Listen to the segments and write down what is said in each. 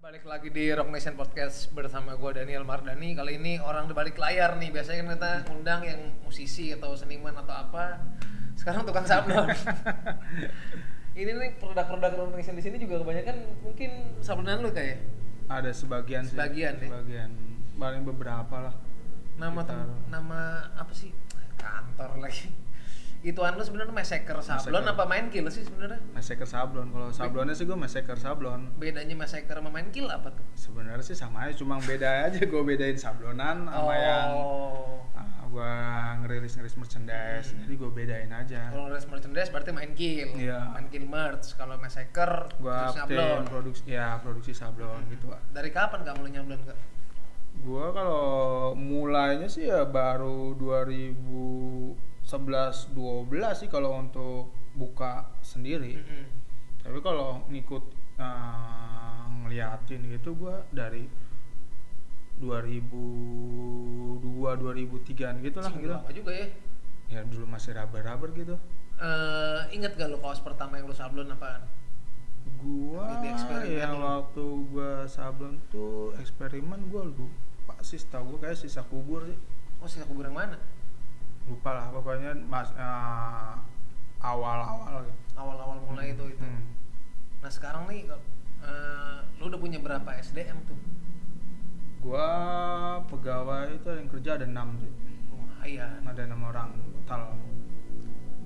Balik lagi di Rock Nation Podcast bersama gue Daniel Mardani Kali ini orang di balik layar nih Biasanya kan kita undang yang musisi atau seniman atau apa Sekarang tukang sablon Ini nih produk-produk Rock Nation di sini juga kebanyakan mungkin sablonan lu ya? kayak Ada sebagian sih. Sebagian, ya? Sebagian. Paling beberapa lah. Nama tem- Gitar. nama apa sih? Kantor lagi Ituan lu sebenarnya massacre sablon Massacre. apa main kill sih sebenarnya? Massacre sablon. Kalau sablonnya sih gue massacre sablon. Bedanya massacre sama main kill apa tuh? Sebenarnya sih sama aja, cuma beda aja gue bedain sablonan sama yang Oh. ah, gue ngerilis-ngerilis merchandise. Jadi gue bedain aja. Kalau ngerilis merchandise berarti main kill. Iya. Main kill merch. Kalau massacre Gue terus updatein nyablon. produksi, ya produksi sablon gitu. Dari kapan kamu lu nyablon kak? Gue kalau mulainya sih ya baru 2011-12 sih kalau untuk buka sendiri. Mm-mm. tapi kalau ngikut eh, ngeliatin gitu gua dari 2002 2003an gitu lah Sih, gitu lama juga ya. ya dulu masih raba-raba gitu Eh, ingat gak lu kaos pertama yang lu sablon apaan? gua Gitu, eksperimen yang dulu. waktu gua sablon tuh eksperimen gua lupa sih setahu gua kayak sisa kubur sih Oh sih aku yang mana? lupa lah pokoknya mas eh, awal-awal gitu. Awal-awal mulai itu itu. Hmm. Nah sekarang nih eh, lu udah punya berapa SDM tuh? gua pegawai itu yang kerja ada enam sih Lumayan. ada enam orang total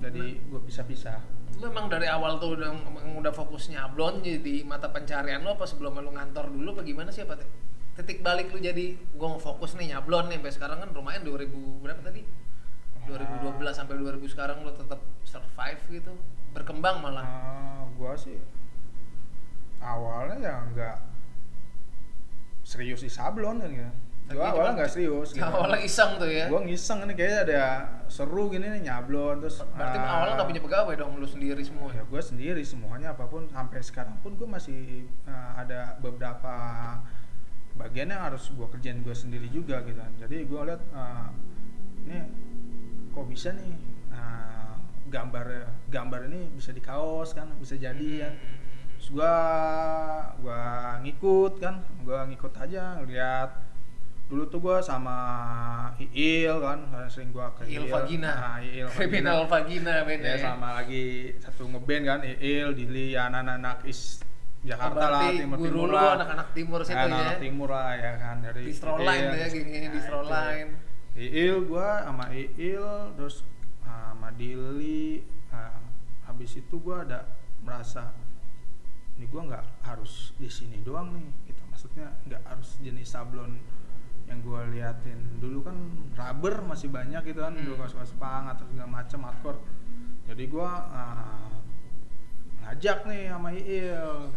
jadi Nah. gue pisah-pisah Lu emang dari awal tuh udah emang udah fokus nyablon jadi mata pencarian lu apa sebelum lu ngantor dulu apa gimana sih apa Teh? titik balik lu jadi gua mau fokus nih nyablon nih sampai sekarang kan lumayan 2000 berapa tadi 2012 sampai 2000 sekarang lu tetap survive gitu berkembang malah nah, gue sih awalnya ya nggak serius di sablon kan gitu Tapi gue cuman- awalnya nggak serius gitu awalnya iseng tuh ya gue ngiseng ini kayaknya ada seru gini nih nyablon terus berarti ah, awalnya gak punya pegawai dong lu sendiri semua ya gue sendiri semuanya apapun sampai sekarang pun gue masih eh, ada beberapa bagian yang harus gue kerjain gue sendiri juga gitu kan. jadi gue lihat eh, ini kok bisa nih eh, gambar gambar ini bisa di kaos kan bisa jadi ya Hmm, terus gue gua ngikut kan gue ngikut aja lihat dulu tuh gue sama Iil kan karena sering gue ke Il Nah, vagina Iil Vagina criminal vagina beda ya sama lagi satu ngeband kan Iil Dili ya anak-anak is Jakarta lah Berarti timur guru timur lu lah anak-anak timur situ anak, -anak ya timur lah ya kan dari Nah, distro line tuh ya gini distro Iya, line Iil gua sama Iil terus ah, sama Dili ah, habis itu gua ada merasa ini gua nggak harus di sini doang nih gitu maksudnya nggak harus jenis sablon yang gua liatin dulu kan rubber masih banyak gitu kan dulu Hmm. kaos-kaos pang atau segala macam hardcore jadi gua ah, ngajak nih sama Iil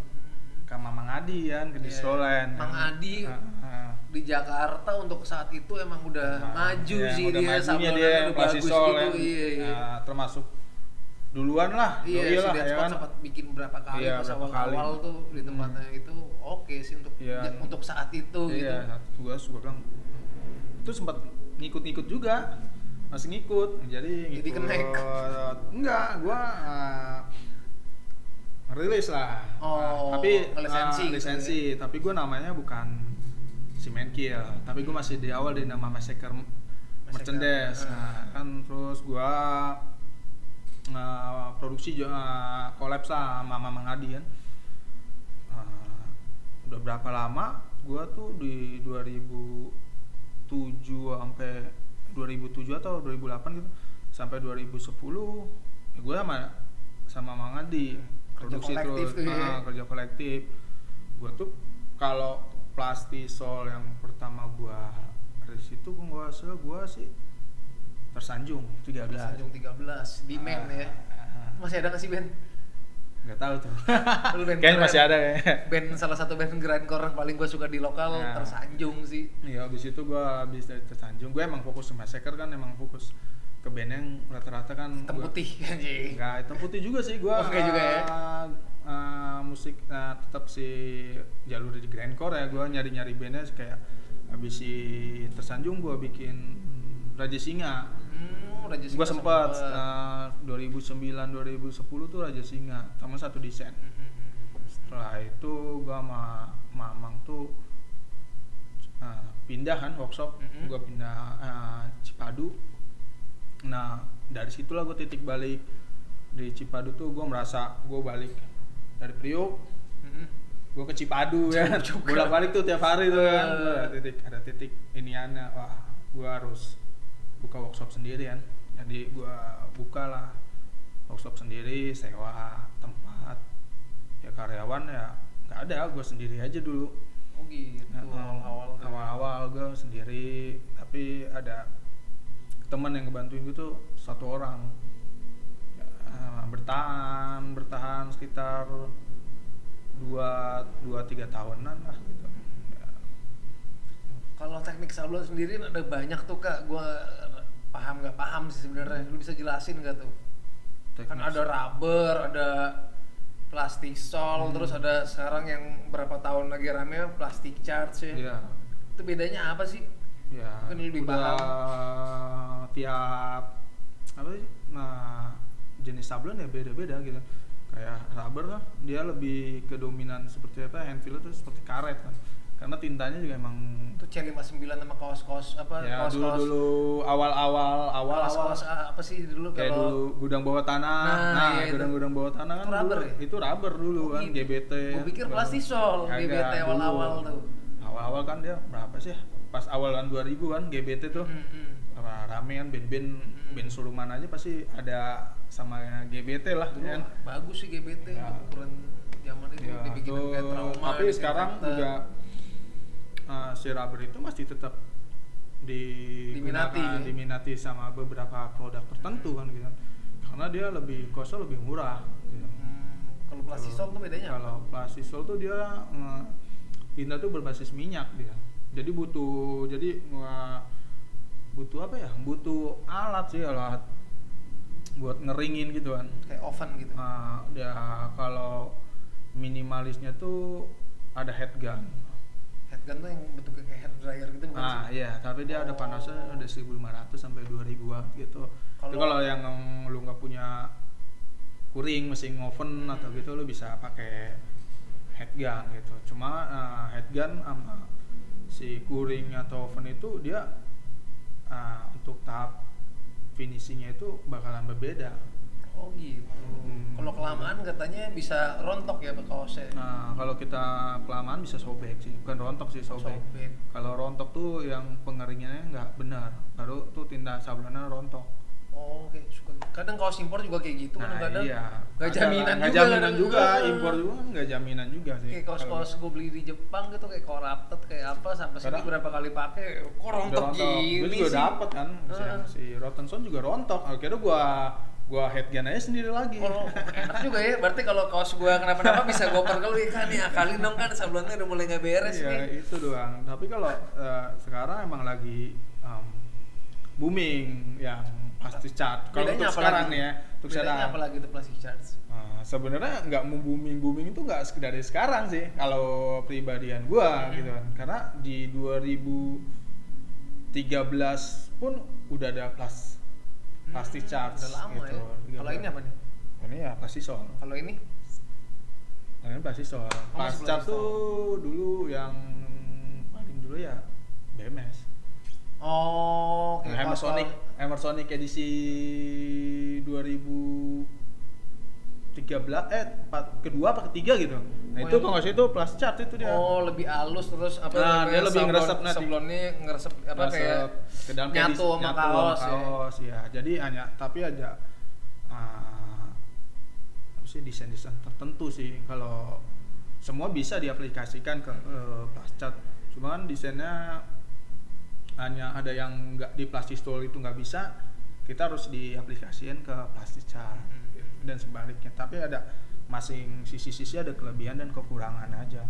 ke Mamang Adi kan ke Iya. distro line Mang Adi Ah, ah. di Jakarta untuk saat itu emang udah maju Iya, sih udah dia majunya sablonannya dia udah pasti bagus sol gitu kan. iya iya Nah, termasuk duluan lah iya doi si lah Dead ya Squad kan sempat bikin berapa kali Iya, pas berapa awal awal kali. Hmm. tuh di tempatnya itu oke sih untuk Iya. ja- untuk saat itu gitu iya satu gua gua bilang itu sempat ngikut-ngikut juga masih ngikut jadi Jadi kenek. enggak gua eh, rilis lah Oh, Eh, tapi ngelisensi eh, gitu lisensi tapi gua namanya bukan si Menkil tapi gua masih di awal di nama Massacre merchandise eh. Nah, kan terus gua eh, produksi juga eh, collab sama Mamang Adi kan Eh, udah berapa lama gua tuh di 2007 sampai 2007 atau 2008 gitu sampai 2010 ya gua sama sama Mang Adi Kerja produksi kolektif terus tuh ya. Ah, kerja kolektif gua tuh kalau plastisol yang pertama gua dari situ gua rasa gua sih tersanjung 13 Sanjung 13 di men ya Ah, masih ada nggak sih band nggak tahu tuh Lu band kayaknya keren. masih ada ya. kayaknya band salah satu band grindcore yang paling gue suka di lokal Nah. tersanjung sih Iya, abis itu gua habis dari Tersanjung. Gue emang fokus sama Seker kan, emang fokus ke band yang rata-rata kan hitam gua- putih anjing Enggak, hitam putih juga sih gua. Oke juga ya. eh, eh, musik eh, tetap si jalur di grindcore ya gua nyari-nyari bandnya kayak habis si Tersanjung gua bikin hmm, Raja Singa. hmm, udah Gua nah. sempat Hmm, eh, 2009 2010 tuh Raja Singa sama satu desain. setelah itu gua sama mamang tuh eh, pindah kan workshop Mhm. gua pindah eh, Cipadu nah dari situlah gua titik balik di Cipadu tuh gua merasa gua balik dari Priok Mm-mm. gue ke Cipadu ya bolak balik tuh tiap hari tuh kan Eh. Gua ada titik ada titik iniannya wah gue harus buka workshop sendiri kan jadi gue bukalah workshop sendiri sewa tempat ya karyawan ya nggak ada gue sendiri aja dulu oh gitu Nah, awal-awal tuh. awal-awal gue sendiri tapi ada teman yang ngebantuin gue tuh satu orang Ya, eh, bertahan bertahan sekitar dua dua tiga tahunan lah gitu Ya. Kalau teknik sablon sendiri ada banyak tuh kak, gue paham nggak paham sih sebenarnya. Lu bisa jelasin nggak tuh? Kan Teknik- ada rubber, ada plastik Hmm. sol, terus ada sekarang yang berapa tahun lagi rame plastik charge ya. Iya. Itu bedanya apa sih? ya Kan lebih udah tiap apa sih nah jenis sablon ya beda-beda gitu kayak rubber lah dia lebih ke dominan seperti apa handfeel itu seperti karet kan karena tintanya juga emang Itu C59 sama kaos-kaos apa? ya dulu kaos-kaos dulu awal-awal awal kaos-kaos ah, apa sih dulu kayak dulu kalau gudang bawah tanah Nah, nah, iya itu. gudang-gudang bawah tanah kan Itu rubber dulu, ya? itu rubber dulu Oh, kan gitu. GBT Gua pikir plastisol, GBT awal-awal tuh. awal-awal kan dia berapa sih pas awalan 2000 kan GBT tuh Mm-mm. Wah, rame kan band-band band Suruman aja pasti ada sama GBT lah Dulu kan. Iya. bagus sih GBT Ya. untuk ukuran zaman itu Ya, dibikin tuh. kayak trauma. tapi dibikin sekarang dokter. juga eh, si rubber itu masih tetap digunakan, Diminati, ya? diminati sama beberapa produk tertentu kan gitu. Karena dia lebih kosong lebih murah gitu. Hmm, kalau plastisol tuh bedanya apa? Kalau plastisol tuh dia eh, tinta tuh berbasis minyak dia. Jadi butuh jadi eh, butuh apa ya? Butuh alat sih alat buat ngeringin gitu kan. kayak oven gitu. Eh, dia kalau minimalisnya tuh ada head gun. Head gun tuh yang bentuknya kayak hair dryer gitu bukan Ah sih? iya, tapi dia ada Oh. panasnya ada 1500 sampai 2000 watt gitu. Tapi Kalau- kalau yang lu nggak punya kuring mesin oven atau gitu lu bisa pakai head gun gitu. Cuma eh, head gun sama si kuring atau oven itu dia eh, untuk tahap finishingnya itu bakalan berbeda. Oh gitu. Hmm. Kalau kelamaan katanya bisa rontok ya Pak, kaosnya. Nah, kalau kita kelamaan bisa sobek sih, bukan rontok sih sobek. Sobek. Kalau rontok tuh yang pengeringannya nggak benar, baru tuh tinta sablonnya rontok. Oh, oke suka. Kadang kaos impor juga kayak gitu Nah, kadang-kadang. iya. Gak Ada- jaminan nggak juga. jaminan kadang- juga, Ah. impor juga kan nggak jaminan juga sih. Kayak kaos-kaos gue beli di Jepang gitu kayak koraptet kayak apa sampai sini Kadang- berapa kali pakai kok Kalau udah rontok gini Gue juga sih? dapet kan, si, Ah. si Rotten Stone juga rontok. Akhirnya gua gua head gun aja sendiri lagi. Kalau enak juga ya, berarti kalau kaos gua kenapa-napa bisa gua perkel "Ih, kan nih akalin dong kan sablonnya udah mulai nggak beres Iya, nih. itu doang. Tapi kalau eh, sekarang emang lagi em, booming yang pasti cat. Kalau Bedanya untuk apa sekarang lagi? nih ya, untuk Bedanya sekarang. apa lagi tuh plastic charge? Nah, sebenarnya nggak mau booming booming itu nggak sekedar dari sekarang sih kalau pribadian gua gitu kan karena di 2013 pun udah ada plus plastik Hmm, charge Udah lama gitu. ya. Kalau ini apa nih? ini ya pasti soal Kalau ini ini pasti soal Oh, pas masih charge plastisol. tuh dulu yang paling dulu ya BMS Oh, kayak Nah, Hammer kapal. Sonic, Hammer Sonic edisi 2013 eh empat- kedua apa ketiga gitu. Nah, Oh, yang- itu kalau nggak salah itu plus chart itu dia. Oh, lebih halus terus apa Nah, namanya, dia lebih sablon- ngeresep nanti. Sablonnya ngeresep apa Masuk kayak ke dalam nyatu edisi- sama nyatu kaos. ya. kaos, ya. Jadi hanya tapi aja ah, apa sih desain-desain tertentu sih kalau semua bisa diaplikasikan ke eh, plus chart. Cuman kan desainnya hanya ada yang nggak di plastik stol itu nggak bisa kita harus diaplikasikan ke plastik chart Hmm. dan sebaliknya tapi ada masing sisi-sisi ada kelebihan dan kekurangan aja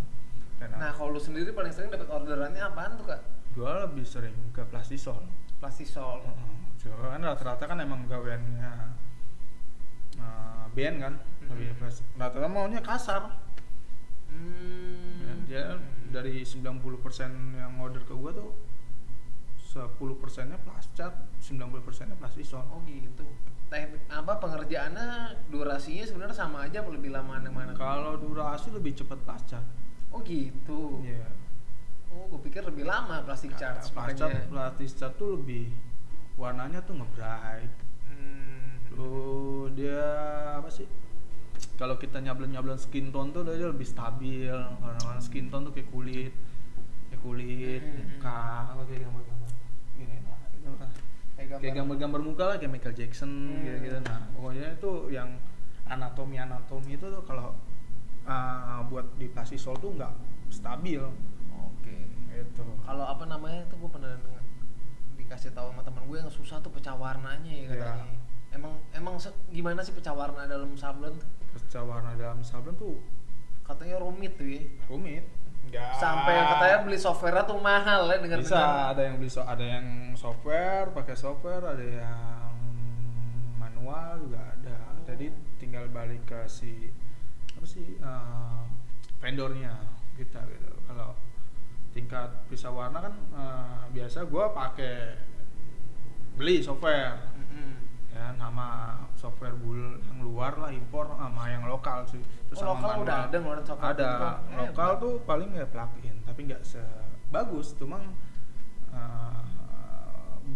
dan Nah, kalau lu sendiri paling sering dapat orderannya apaan tuh, Kak? gue lebih sering ke plastisol Plastisol. Cuma kan rata-rata kan emang gaweannya eh, band kan lebih Mm-mm. plas- rata-rata maunya kasar Hmm. Nah, Ya, dia dari 90% yang order ke gue tuh 10 persennya plascat 90 persennya plastison Oh gitu. Teknik apa pengerjaannya durasinya sebenarnya sama aja apa lebih lama yang mana? kalau durasi lebih cepat plascat Oh gitu. Iya. Oh, gue pikir lebih lama plastik charge plascat makanya. plastic tuh lebih warnanya tuh ngebright Hmm. tuh dia apa sih kalau kita nyablon nyablon skin tone tuh dia lebih stabil warna-warna skin tone tuh kayak kulit kayak kulit Hmm. muka apa kayak gambar-gambar gini lah gitu lah. kayak gambar-gambar muka lah kayak Michael Jackson Hmm. gitu gitu nah pokoknya itu yang anatomi anatomi itu tuh kalau ah, buat di plastisol tuh nggak stabil Oke. gitu Kalau apa namanya tuh gue pernah denger- dikasih tahu sama teman gue yang susah tuh pecah warnanya ya katanya. Iya. Emang emang se- gimana sih pecah warna dalam sablon? tuh? pecah warna dalam sablon tuh Katanya rumit tuh ya. rumit Nggak. Sampai katanya beli software tuh mahal ya dengar bisa ada yang beli so- ada yang software pakai software ada yang manual juga ada jadi tinggal balik ke si apa sih eh, vendornya kita gitu kalau tingkat pisau warna kan eh, biasa gua pakai beli software ya nama software bul yang luar lah impor ah, sama yang lokal sih Oh, lokal udah ada ngeluarin software ada impor. Eh, lokal hebat. tuh paling ya plugin tapi nggak sebagus cuma eh,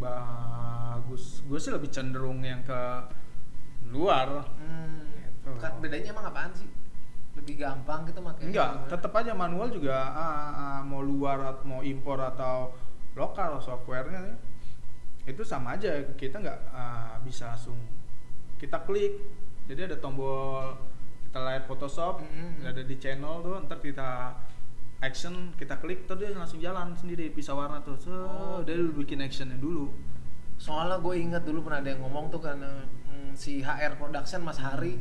bagus gue sih lebih cenderung yang ke luar Hmm. Gitu. Kat- bedanya emang apaan sih? Lebih gampang gitu makanya. enggak tetap aja manual juga ah, ah, mau luar at- mau impor atau lokal softwarenya ya, itu sama aja kita nggak ah, bisa langsung kita klik jadi ada tombol kita lihat Photoshop Mm-mm. ada di channel tuh ntar kita action kita klik terus dia langsung jalan sendiri pisau warna tuh so, Oh. dia dulu bikin actionnya dulu Soalnya gue ingat dulu pernah ada yang ngomong tuh karena mm, si HR Production Mas Hari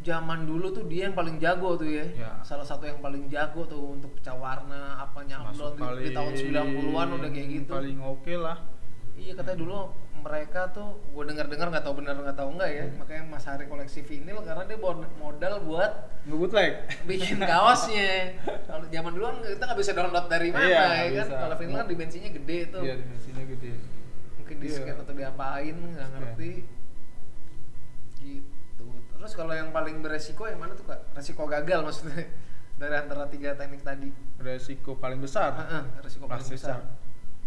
zaman dulu tuh dia yang paling jago tuh ya. Ya. Salah satu yang paling jago tuh untuk pecah warna apa nyablon Masuk di, di tahun 90-an udah kayak gitu. paling oke lah Iya katanya dulu mereka tuh gue dengar-dengar nggak tahu benar nggak tahu nggak ya. Hmm. Makanya Mas Hari koleksi vinil karena dia bod- modal buat ngebut like bikin kaosnya. Kalau zaman dulu kan kita nggak bisa download dari mana Iya, ya nggak kan. bisa. Kalau film kan dimensinya gede tuh. iya dimensinya gede Mungkin di Iya. scan atau diapain nggak Scan. ngerti. Gitu. Terus kalau yang paling beresiko yang mana tuh kak? Resiko gagal maksudnya dari antara tiga teknik tadi. resiko paling besar Heeh, resiko paling Plastic besar. shark.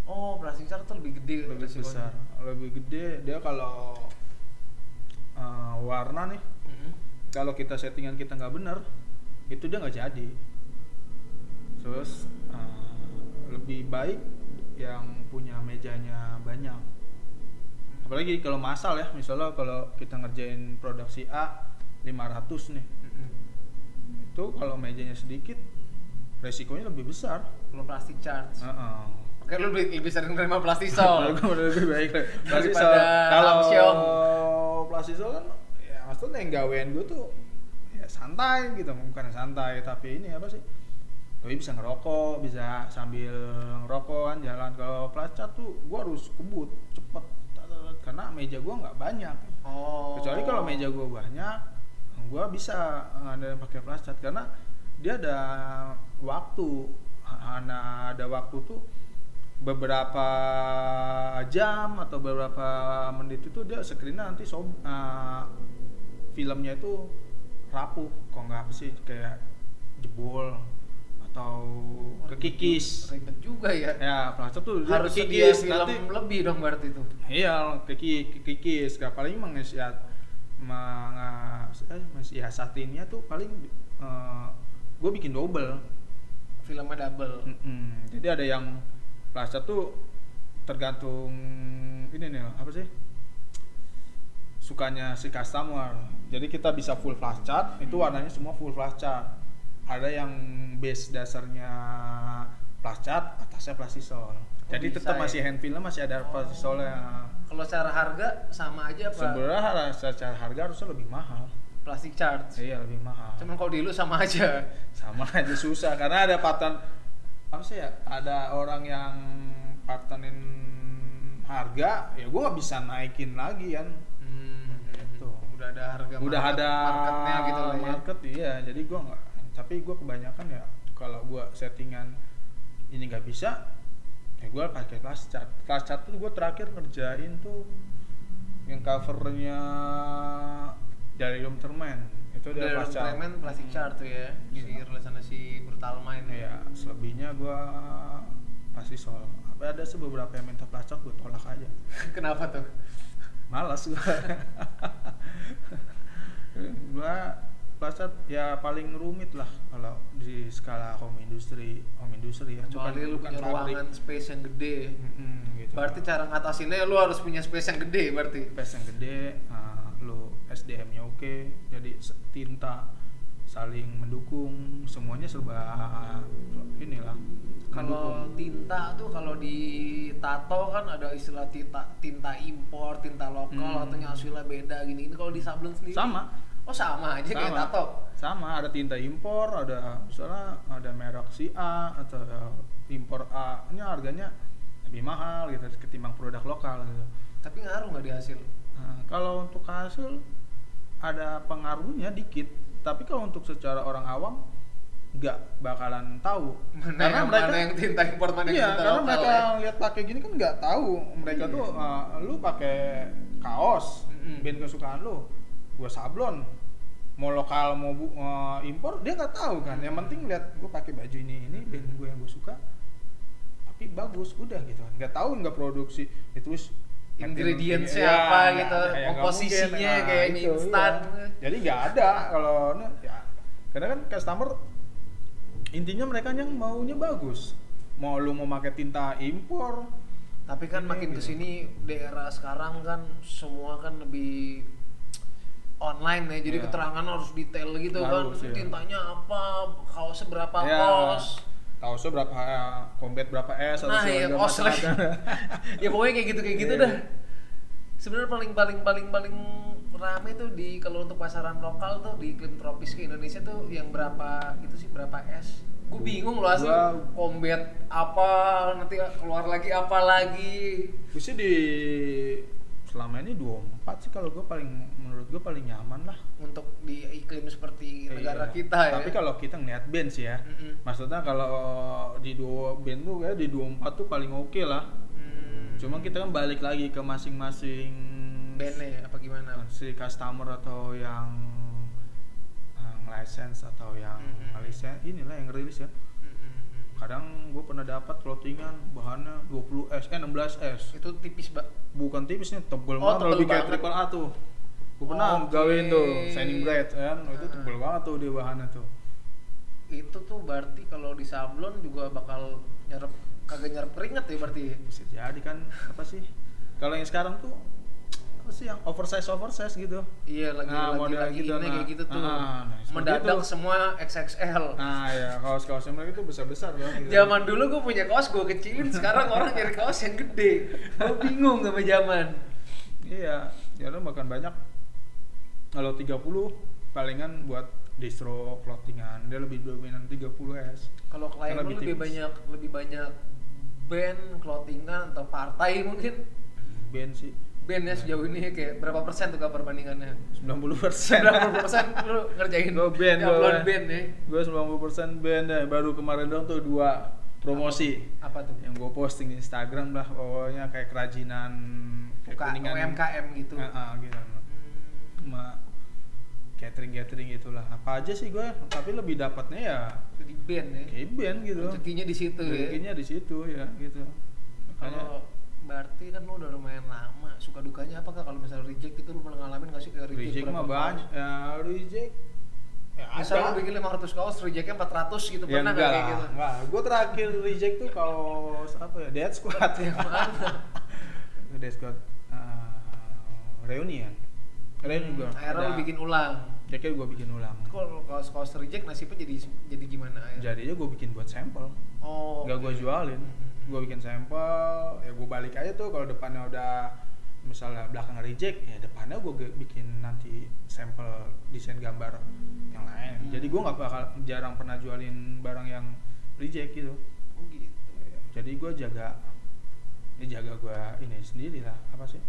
Oh, plastic shark tuh lebih gede lebih besar lebih gede dia kalau uh, warna nih Mm-mm. kalau kita settingan kita nggak bener itu dia nggak jadi terus uh, lebih baik yang punya mejanya banyak apalagi kalau masal ya misalnya kalau kita ngerjain produksi A 500 nih Mm-mm. itu kalau mejanya sedikit resikonya lebih besar Belum plastic charge. Heeh. Oke, lu lebih, lebih sering nerima plastic Kalau salt. gue udah lebih baik lah. Plastisol. Daripada Kalau Amsyong. plastisol kan ya maksudnya yang gawean gue tuh ya santai gitu, bukan santai tapi ini apa sih? Gue bisa ngerokok, bisa sambil ngerokok kan jalan. Kalau plascat tuh gue harus kebut cepet Tatat, karena meja gue nggak banyak. Oh. Kecuali kalau meja gue banyak, gue bisa ada pakai plascat karena dia ada waktu, ada ada waktu tuh beberapa jam atau beberapa menit itu dia screennya nanti sob, eh, filmnya itu rapuh, kok nggak apa sih kayak jebol atau kekikis. Ribet juga ya. Ya, plascat tuh dia Oh, harus sedia kekikis, film nanti- lebih dong berarti itu Iya, kiki kikis. Gak paling mengesiat mengas eh mensiasatinya tuh paling gue bikin double. filmnya double Mm-mm. Jadi ada yang plastik tuh tergantung ini nih apa sih? sukanya si customer. Jadi kita bisa full flash cat, Hmm. itu warnanya semua full flash cat. Ada yang base dasarnya flash cat, atasnya plastisol. Oh, Jadi bisa tetap ya? masih hand filmnya masih ada Oh. plastisolnya. kalau secara harga sama aja apa Sebenarnya har- secara harga harusnya lebih mahal. plastic charge Iya lebih mahal. cuman kalau di lu sama aja Sama aja susah karena ada paten apa sih ya? Ada orang yang patenin harga, ya gue nggak bisa naikin lagi kan. hmm, Tuh. udah ada harga Gitu. Udah market- ada marketnya gitu lah ya Market iya, jadi gue nggak. Tapi gue kebanyakan ya kalau gue settingan ini nggak bisa, ya gue pakai kelas cat kelas cat tuh gue terakhir ngerjain tuh yang covernya dari Termen itu dari kelas cat Ultraman plastic chart tuh ya si Hmm. Iya. rilisannya si brutal main ya selebihnya gue pasti soal apa ada sih beberapa yang minta kelas cat gue tolak aja kenapa tuh malas gue gue kelas cat ya paling rumit lah kalau di skala home industry home industry ya Kecuali lu punya pabrik. ruangan space yang gede Mm-mm, gitu. berarti cara ngatasinnya lu harus punya space yang gede berarti PS yang gede, uh, lo SDM-nya oke, jadi se- tinta saling mendukung, semuanya serba inilah. kalau tinta tuh kalau di tato kan ada istilah tinta tinta impor tinta lokal Hmm. atau nyasilnya beda gini gini kalau di sablon mendukung. sendiri sama, oh sama aja kayak Sama. tato sama ada tinta impor, ada misalnya ada merek si A atau ada impor A, nya harganya lebih mahal gitu ketimbang produk lokal gitu. tapi ngaruh nggak di hasil Nah, kalau untuk hasil ada pengaruhnya dikit, tapi kalau untuk secara orang awam nggak bakalan tahu mana yang, mana yang tinta impor mana yang Iya, tinta karena lokal mereka ya? lihat pakai gini kan nggak tahu. Mereka Iya. tuh uh, lu pakai kaos Mm-mm. band kesukaan lu, gua sablon. Mau lokal mau bu- uh, impor dia nggak tahu kan. Yang penting lihat gua pakai baju ini ini band gue yang gue suka. Tapi bagus udah gitu kan. Nggak tahu nggak produksi. Ya, terus Ingredients-nya Iya, apa nggak gitu, ada, ya nggak komposisinya mungkin. Nah, kayak mie itu, instan. iya. Jadi nggak ada kalau ya, karena kan customer intinya mereka yang maunya bagus mau lu mau pakai tinta impor tapi kan Ini makin gitu. kesini daerah sekarang kan semua kan lebih online ya jadi Iya. keterangan harus detail gitu Harus, kan iya. tintanya apa kaosnya berapa Ya, kaos kaosnya berapa eh, combat berapa S atau nah ya segala kaos macam lagi ada. ya pokoknya kayak gitu kayak gitu Iya. dah sebenarnya paling paling paling paling rame tuh di kalau untuk pasaran lokal tuh di iklim tropis ke Indonesia tuh yang berapa itu sih berapa es gue bingung loh asli Gua- combat apa nanti keluar lagi apa lagi Gua sih di selama ini 24 sih kalau gue paling menurut gue paling nyaman lah untuk di iklim seperti negara Iya. kita ya. tapi kalau kita ngeliat band sih ya Mm-mm. maksudnya kalau di dua band tuh kayak di 24 tuh paling oke lah Hmm, cuma kita kan balik lagi ke masing-masing bandnya ya, apa gimana? si customer atau yang yang license atau yang Mhm. license inilah yang rilis ya Mm-mm. kadang gue pernah dapat clothingan bahannya 20s eh 16s Itu tipis mbak. bukan tipisnya tebel Oh, banget tebel lebih kayak banget. triple A tuh gue pernah Oke. gawein tuh shining bright kan itu Ah. tebel banget tuh dia bahannya tuh Itu tuh berarti kalau di sablon juga bakal nyerap kagak nyerap keringet ya berarti. bisa jadi kan apa sih kalau yang sekarang tuh apa sih yang oversize oversize gitu Iya lagi Nah, lagi model lagi gitu, ini nah. kayak gitu tuh. Ah, nah, seperti Mendadak itu. semua XXL. nah ya kaos kaosnya mereka tuh besar besar kan gitu. Zaman dulu gue punya kaos gue kecilin, sekarang orang nyari kaos yang gede. Gue bingung sama zaman. Iya, ya lo makan banyak. Kalau 30 palingan buat distro clothingan, dia lebih dominan 30S. Kalau klien Karena lu lebih lebih tipis. banyak lebih banyak band, clothingan atau partai mungkin Band sih bandnya Nah. sejauh ini kayak berapa persen tuh kak perbandingannya? 90 persen. Berapa persen lu ngerjain Gua band, gua upload band. band ya? gue 90 persen band deh. Baru kemarin dong tuh dua promosi Apa tuh? yang gue posting di Instagram lah pokoknya kayak kerajinan kayak Buka kuningan. UMKM gitu. Ah, ah, gitu. Cuma catering catering gitulah apa aja sih gue tapi lebih dapatnya ya Hmm, Di band ya. kayak band gitu Rezekinya di situ ya. rezekinya di situ ya gitu makanya Kalau berarti kan lu udah lumayan lama. Suka dukanya apa kak kalau misalnya reject itu lu pernah ngalamin nggak sih kayak reject? reject berapa mah kaos? banyak ya reject ya Misal lu bikin 500 kaos, rejectnya 400 gitu. ya Pernah nggak enggak kayak lah gitu? enggak gue terakhir reject tuh kalau apa ya dead squad ya Mana? dead squad eh, reunian reunion gue Hmm, Akhirnya lu bikin ulang. jadi gue bikin ulang Kalau kaos kaos reject nasibnya jadi jadi gimana? ya? jadinya gue bikin buat sampel Oh. nggak gue oke. jualin gue bikin sampel ya gue balik aja tuh kalau depannya udah misalnya belakang reject ya depannya gue bikin nanti sampel desain gambar yang lain Hmm. jadi gue nggak bakal jarang pernah jualin barang yang reject gitu Oh gitu. jadi gue jaga ya jaga gue ini sendiri lah apa sih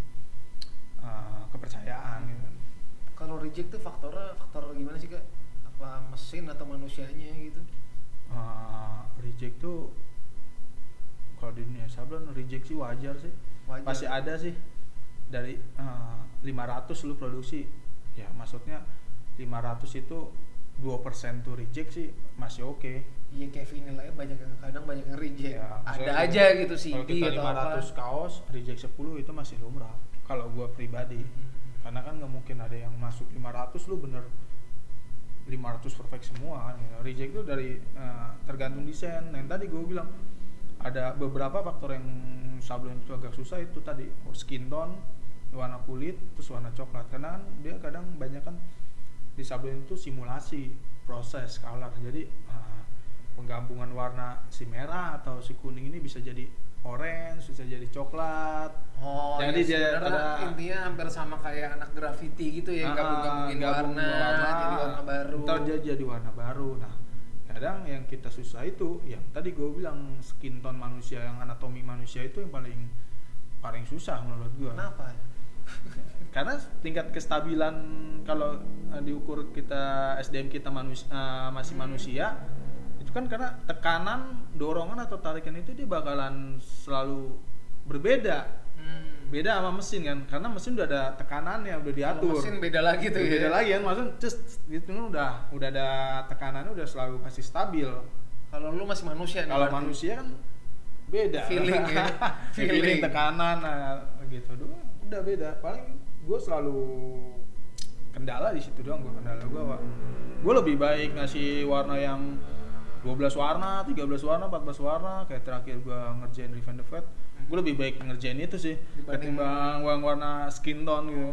Eh, kepercayaan gitu Kalau reject tuh faktornya faktor gimana sih kak? Apa mesin atau manusianya gitu? Eh, reject tuh kalau di dunia sablon rejeksi wajar sih Wajar. pasti ada sih dari eh, 500 lu produksi ya maksudnya 500 itu 2% tuh reject sih masih oke Iya kayak vinyl aja banyak yang kadang banyak yang reject. Ya, Iya, ada maksudnya aja gitu kalau CD kita atau apa. 500 kaos reject 10 itu masih lumrah kalau gua pribadi Hmm. karena kan nggak mungkin ada yang masuk 500 lu bener 500 perfect semua kan gitu. reject itu dari eh, tergantung desain yang tadi gua bilang ada beberapa faktor yang sablon itu agak susah itu tadi skin tone warna kulit terus warna coklat karena kan dia kadang banyak kan di sablon itu simulasi proses color jadi eh, penggabungan warna si merah atau si kuning ini bisa jadi orange bisa jadi coklat Oh, Jadi jadi dia ada- intinya hampir sama kayak anak graffiti gitu ya, Ah, gabung-gabungin gabung warna, jadi warna baru. Ntar dia jadi warna baru. Nah, kadang yang kita susah itu, yang tadi gue bilang skin tone manusia, yang anatomi manusia itu yang paling paling susah menurut gue. Kenapa? Karena tingkat kestabilan kalau eh, diukur kita SDM kita manus- eh, masih Hmm. manusia, itu kan karena tekanan, dorongan atau tarikan itu dia bakalan selalu berbeda. Hmm. Beda sama mesin kan, karena mesin udah ada tekanannya, udah Kalau diatur Mesin beda lagi tuh ya. beda lagi kan maksudnya just gitu kan udah udah ada tekanannya udah selalu pasti stabil Kalau lu masih manusia nih, Iya, kalau berarti. manusia kan beda Feeling ya. feeling. Feeling. tekanan nah, gitu doang udah beda paling gue selalu kendala di situ doang gue kendala gue gue lebih baik ngasih warna yang 12 warna, 13 warna, 14 warna kayak terakhir gua ngerjain Revenge the Fat gue lebih baik ngerjain itu sih Dibanding- ketimbang warna skin tone Oh, gitu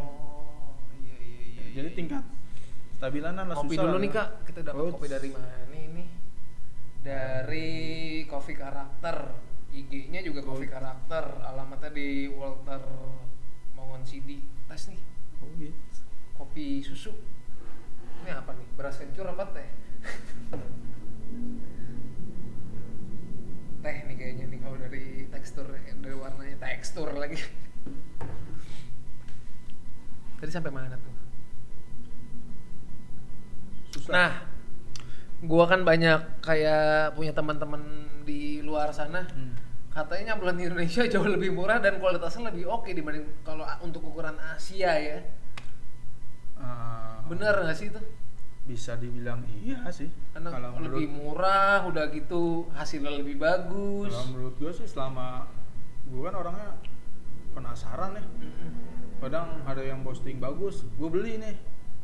iya iya iya. iya. jadi tingkat stabilanan lah kopi susah dulu lah. nih kak kita dapat Oh, kopi dari mana ini dari kopi karakter IG-nya juga kopi Oh. karakter alamatnya di Walter Mongon CD tes nih Oh, gitu. kopi susu ini apa nih beras kencur apa teh teh nih kayaknya nih kalau dari teksturnya dari warnanya tekstur lagi tadi sampai mana tuh susah Nah, gua kan banyak kayak punya teman-teman di luar sana. Hmm. Katanya bulan di Indonesia jauh lebih murah dan kualitasnya lebih oke dibanding kalau a- untuk ukuran Asia ya. Ah, Bener nggak sih itu? bisa dibilang iya sih Karena kalau menurut lebih murah, udah gitu hasilnya lebih bagus. kalau menurut gue sih selama gue kan orangnya penasaran ya kadang ada yang posting bagus gue beli nih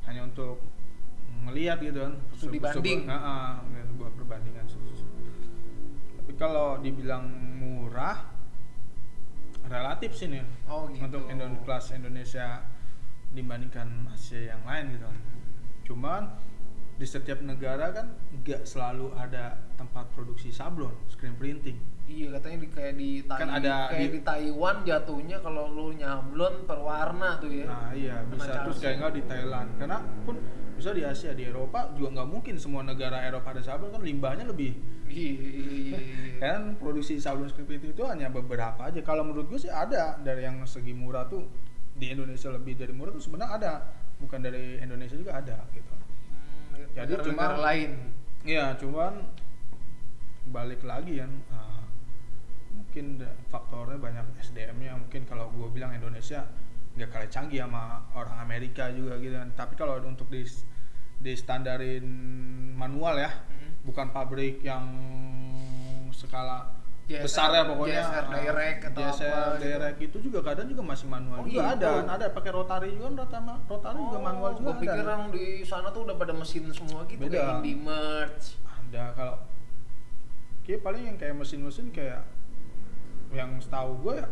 hanya untuk melihat gitu kan Untuk dibanding. Nah, ah, gitu, buat perbandingan tapi kalau dibilang murah relatif sih nih Oh, gitu. untuk Indo- kelas Indonesia dibandingkan Asia yang lain gitu kan cuman di setiap negara kan nggak selalu ada tempat produksi sablon screen printing Iya katanya di, kayak di Kan Tai- ada kayak di- di Taiwan jatuhnya kalau lu nyablon per warna tuh ya. Nah iya Kena bisa charge. terus kayak nggak di Thailand karena pun bisa di Asia di Eropa juga nggak mungkin semua negara Eropa ada sablon kan limbahnya lebih Iya, iya, iya, iya. kan produksi sablon screen printing itu hanya beberapa aja kalau menurut gue sih ada dari yang segi murah tuh di Indonesia lebih dari murah tuh sebenarnya ada bukan dari Indonesia juga ada gitu Hmm, Jadi negara- cuma- negara lain. Iya, cuman balik lagi kan ah, mungkin da- faktornya banyak SDM-nya mungkin kalau gue bilang Indonesia nggak kalah canggih sama orang Amerika juga gitu kan. Tapi kalau untuk di di standarin manual ya, Mhm. bukan pabrik yang skala JSR, besar ya pokoknya. JSR ah, direct atau JSR apa gitu. direct itu juga kadang juga masih manual Oh, juga gitu. ada, kan. ada pakai rotari juga kan, rata rotari juga manual juga Gue pikir ada. orang di sana tuh udah pada mesin semua gitu Beda. kayak Indie Merch. ada kalau kayak paling yang kayak mesin-mesin kayak yang setahu gue ya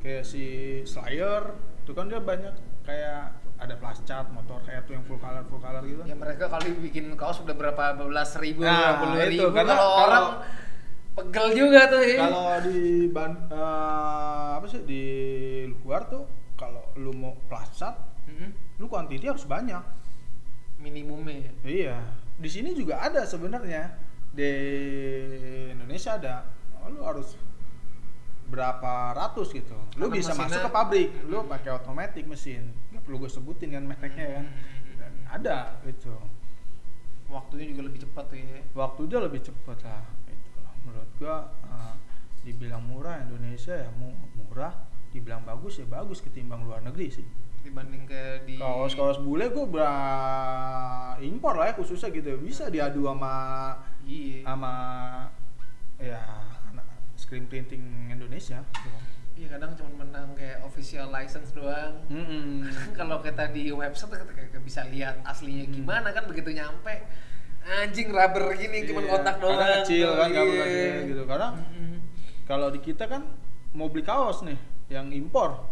kayak si Slayer itu kan dia banyak kayak ada plascat motor kayak tuh yang full color full color gitu Ya mereka kali bikin kaos udah berapa belas ribu, Nah, berapa puluh itu, ribu. karena Kalau kalau- orang pegel juga tuh ya. kalau di ban eh, apa sih di luar tuh kalau lu mau plascat Mhm. lu kuantiti harus banyak minimumnya ya. Iya, di sini juga ada sebenarnya di Indonesia ada. Oh, lu harus berapa ratus gitu. Karena Lu bisa mesinnya- masuk ke pabrik, lu pakai otomatis mesin. Gak perlu gue sebutin kan mereknya kan. Dan Hmm. ada gitu. Waktunya juga lebih cepat tuh ya. Waktu dia lebih cepat lah. Itu lah. Menurut gitu. gua eh, dibilang murah Indonesia ya mu- murah dibilang bagus ya bagus ketimbang luar negeri sih dibanding ke di kaos kaos bule gue bra impor lah ya khususnya gitu bisa diadu sama iya sama ya anak screen printing Indonesia gitu. iya kadang cuma menang kayak official license doang Mm-mm. kalau kita di website kita kita bisa lihat aslinya Hmm. gimana kan begitu nyampe anjing rubber gini cuman Iya, kotak doang karena kecil kan, Iya. kabel kecil gitu. Karena Mm-mm. kalau di kita kan mau beli kaos nih yang impor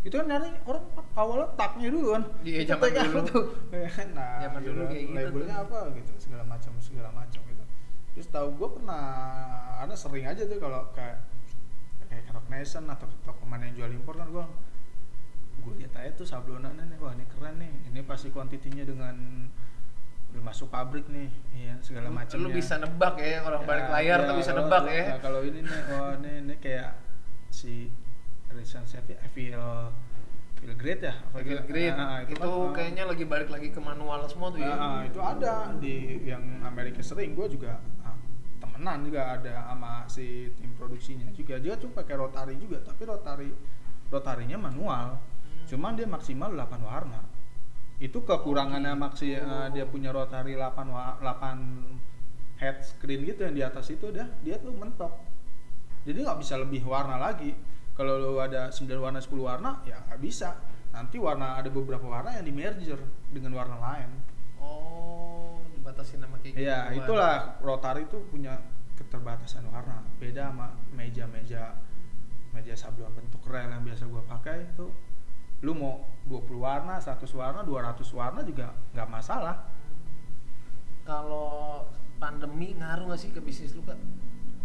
itu kan nyari orang awalnya taknya dulu kan Iya, Itu zaman tag apa dulu. tuh. Ya kan? nah Zaman dulu gitu, kayak gitu labelnya tuh. apa gitu segala macam segala macam gitu terus tahu gue pernah ada sering aja tuh kalau kayak kayak ke Rock Nation atau ke toko mana yang jual impor kan gue gue lihat aja tuh sablonannya nih wah ini keren nih ini pasti kuantitinya dengan udah masuk pabrik nih iya segala Lu- macam lu bisa nebak ya orang balik layar tuh bisa nebak ya Nah, kalau ini nih wah ini, ini kayak si Rizan Sepi feel feel great ya apa Feel gitu? great. Ah, ah, itu kan, ah, kayaknya lagi balik lagi ke manual semua tuh ya. ah, ah, itu ada di yang Amerika sering gue juga ah, temenan juga ada sama si tim produksinya juga dia tuh pakai rotari juga tapi rotari rotarinya manual Hmm. cuman dia maksimal 8 warna itu kekurangannya Oh, maksi gitu. eh, dia punya rotari 8 wa- 8 head screen gitu yang di atas itu dia dia tuh mentok jadi nggak bisa lebih warna lagi kalau lu ada 9 warna 10 warna ya nggak bisa nanti warna ada beberapa warna yang di merger dengan warna lain Oh, dibatasin sama kayak gitu. Iya, itulah rotari itu punya keterbatasan warna. Beda sama meja-meja meja sablon bentuk rel yang biasa gua pakai itu lu mau 20 warna, 100 warna, 200 warna juga nggak masalah. Kalau pandemi ngaruh gak sih ke bisnis lu, Kak?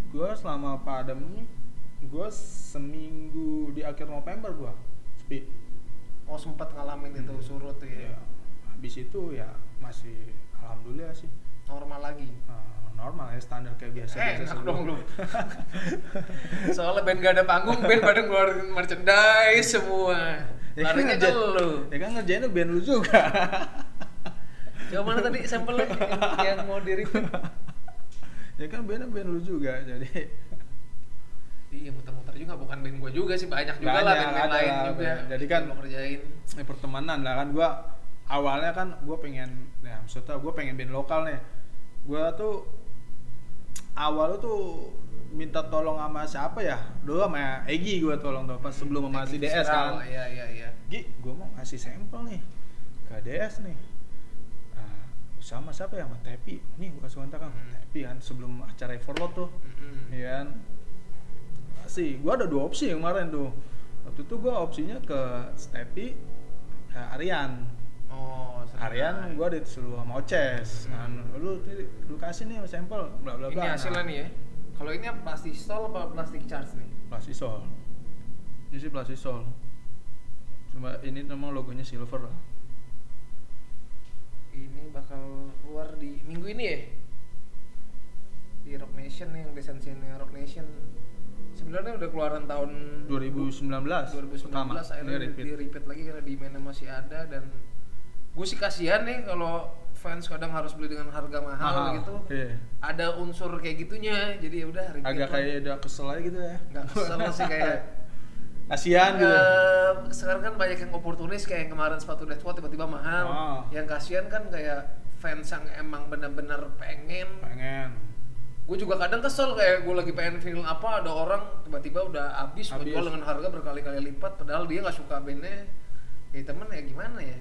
Gua selama pandemi gua seminggu di akhir November gua sepi. Oh, sempat ngalamin itu Hmm. surut tuh ya. Ya, habis itu ya masih alhamdulillah sih Normal lagi. eh, normal ya standar kayak biasa biasa Eh, Enak dong lu. Soalnya band gak ada panggung, band pada ngeluarin merchandise semua. kan Larinya ke ngerjain- lu. Ya kan ngerjainnya band lu juga. Coba mana tadi sampelnya yang, yang mau di review? ya kan bandnya band lu juga. Jadi Iya muter-muter juga bukan band gue juga sih banyak juga lah Banyak, band-band ada lain lah, juga. banyak. Jadi yang kan- mau kerjain. ya pertemanan lah kan gua awalnya kan gua pengen ya maksudnya gua pengen band lokal nih. Gua tuh awal tuh minta tolong sama siapa ya? Dulu sama Egi gua tolong tuh pas sebelum sama si DS kan. Iya iya iya. Gi, gue mau ngasih sampel nih ke DS nih. Ah, sama siapa ya? Sama Tepi. Nih gue kasih kontak sama Hmm. Tepi kan sebelum acara Everlord tuh. Mm-mm. Iya kan? Sih, gue ada dua opsi yang kemarin tuh. Waktu itu gue opsinya ke Stepi, ke Aryan. Oh, senang. Aryan gue disuruh sama Oces. Nah, lu, lu kasih nih sampel, bla bla bla. Hmm. Ini hasilnya Nah, nih ya. Kalau ini apa, plastik stol apa plastik charge nih? Plastisol. Ini sih Plastisol. Cuma ini memang logonya silver lah. Ini bakal keluar di minggu ini ya. Di Rock Nation nih, yang desainnya Rock Nation. Sebenarnya udah keluaran tahun 2019 2019 pertama akhirnya ini di repeat. repeat. lagi karena demand masih ada dan gue sih kasihan nih kalau fans kadang harus beli dengan harga mahal, Mahal, gitu iya. ada unsur kayak gitunya jadi ya udah repeat agak lah. kayak udah kesel aja gitu ya nggak kesel sih kayak kasihan gitu Eh, sekarang kan banyak yang oportunis kayak yang kemarin sepatu Deadwood tiba-tiba mahal Ah. yang kasihan kan kayak fans yang emang bener-bener pengen pengen gue juga kadang kesel kayak gue lagi pengen vinyl apa ada orang tiba-tiba udah habis gue Habis. jual dengan harga berkali-kali lipat padahal dia nggak suka bandnya ya temen ya gimana ya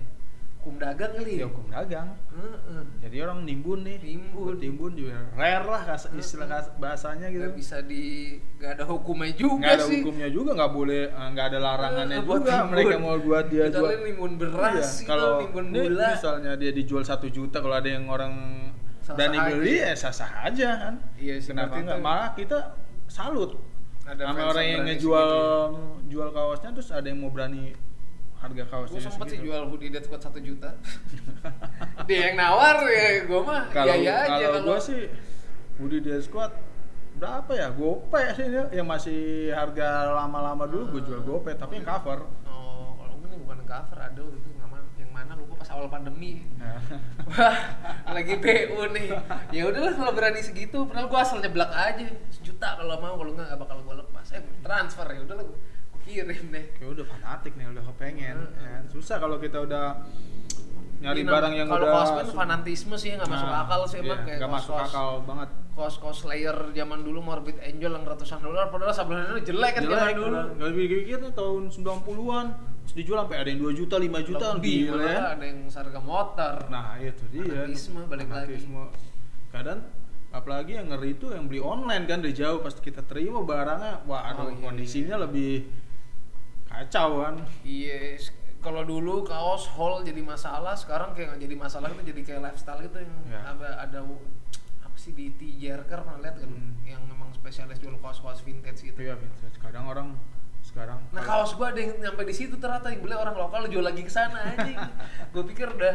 hukum dagang kali ya hukum dagang Heeh. jadi orang nimbun nih Nimbun. timbun juga rare lah kas- istilah kas- bahasanya gitu nggak bisa di nggak ada hukumnya juga nggak ada sih hukumnya juga nggak boleh eh, nggak ada larangannya Eh, buat juga timbun. mereka mau buat dia Kita jual lihat nimbun beras Iya, gitu, kalau nimbun ini gula. misalnya dia dijual satu juta kalau ada yang orang Sah-sah berani aja. beli ya sah sah aja kan Iya sih, kenapa berarti nggak kan- malah kita salut Ada sama fans gitu ya. yang orang yang berani ngejual jual kaosnya terus ada yang mau berani harga kaosnya gue sempet sih segitu. jual hoodie Dead Squad 1 juta dia yang nawar ya gue mah ya kalau ya aja Iya, kalau gue sih Budi Dead Squad berapa ya gope sih dia yang masih harga lama-lama dulu gue jual gope tapi yang cover oh kalau gue nih bukan cover ada waktu itu yang mana yang mana lupa pas awal pandemi nah, wah lagi BU nih ya udahlah kalau berani segitu padahal gue asal nyeblak aja sejuta juta kalau mau kalau nggak nggak bakal gue lepas eh gua transfer ya udah lah gue kirim deh ya udah fanatik nih udah kepengen Heeh. ya. susah kalau kita udah nyari Ini barang yang Iya, kalau udah kos kan fanatisme sih nggak masuk Nah, akal sih iya, emang kayak nggak masuk kos-kos- akal banget kos-kos layer zaman dulu Morbid Angel yang ratusan dolar padahal sebenarnya jelek kan zaman dulu Gak pikir-pikir nih tahun 90-an terus dijual sampai ada yang 2 juta, 5 juta lebih gila ya. malah ada yang harga motor Nah, itu dia. Fanatisme, balik lagi. Fanatisme. Kadang apalagi yang ngeri itu yang beli online kan dari jauh pas kita terima barangnya wah Oh, aduh iya, kondisinya lebih kacau kan. iya s- kalau dulu kaos haul jadi masalah sekarang kayak nggak jadi masalah itu jadi kayak lifestyle gitu yang Ya. ada ada w- apa sih di T. Jerker pernah lihat kan Hmm. yang memang spesialis jual kaos-kaos vintage gitu Itu ya Vincent. Kadang orang sekarang Nah kaos gua ada yang nyampe di situ ternyata yang beli orang lokal jual lagi ke sana anjing. gua pikir udah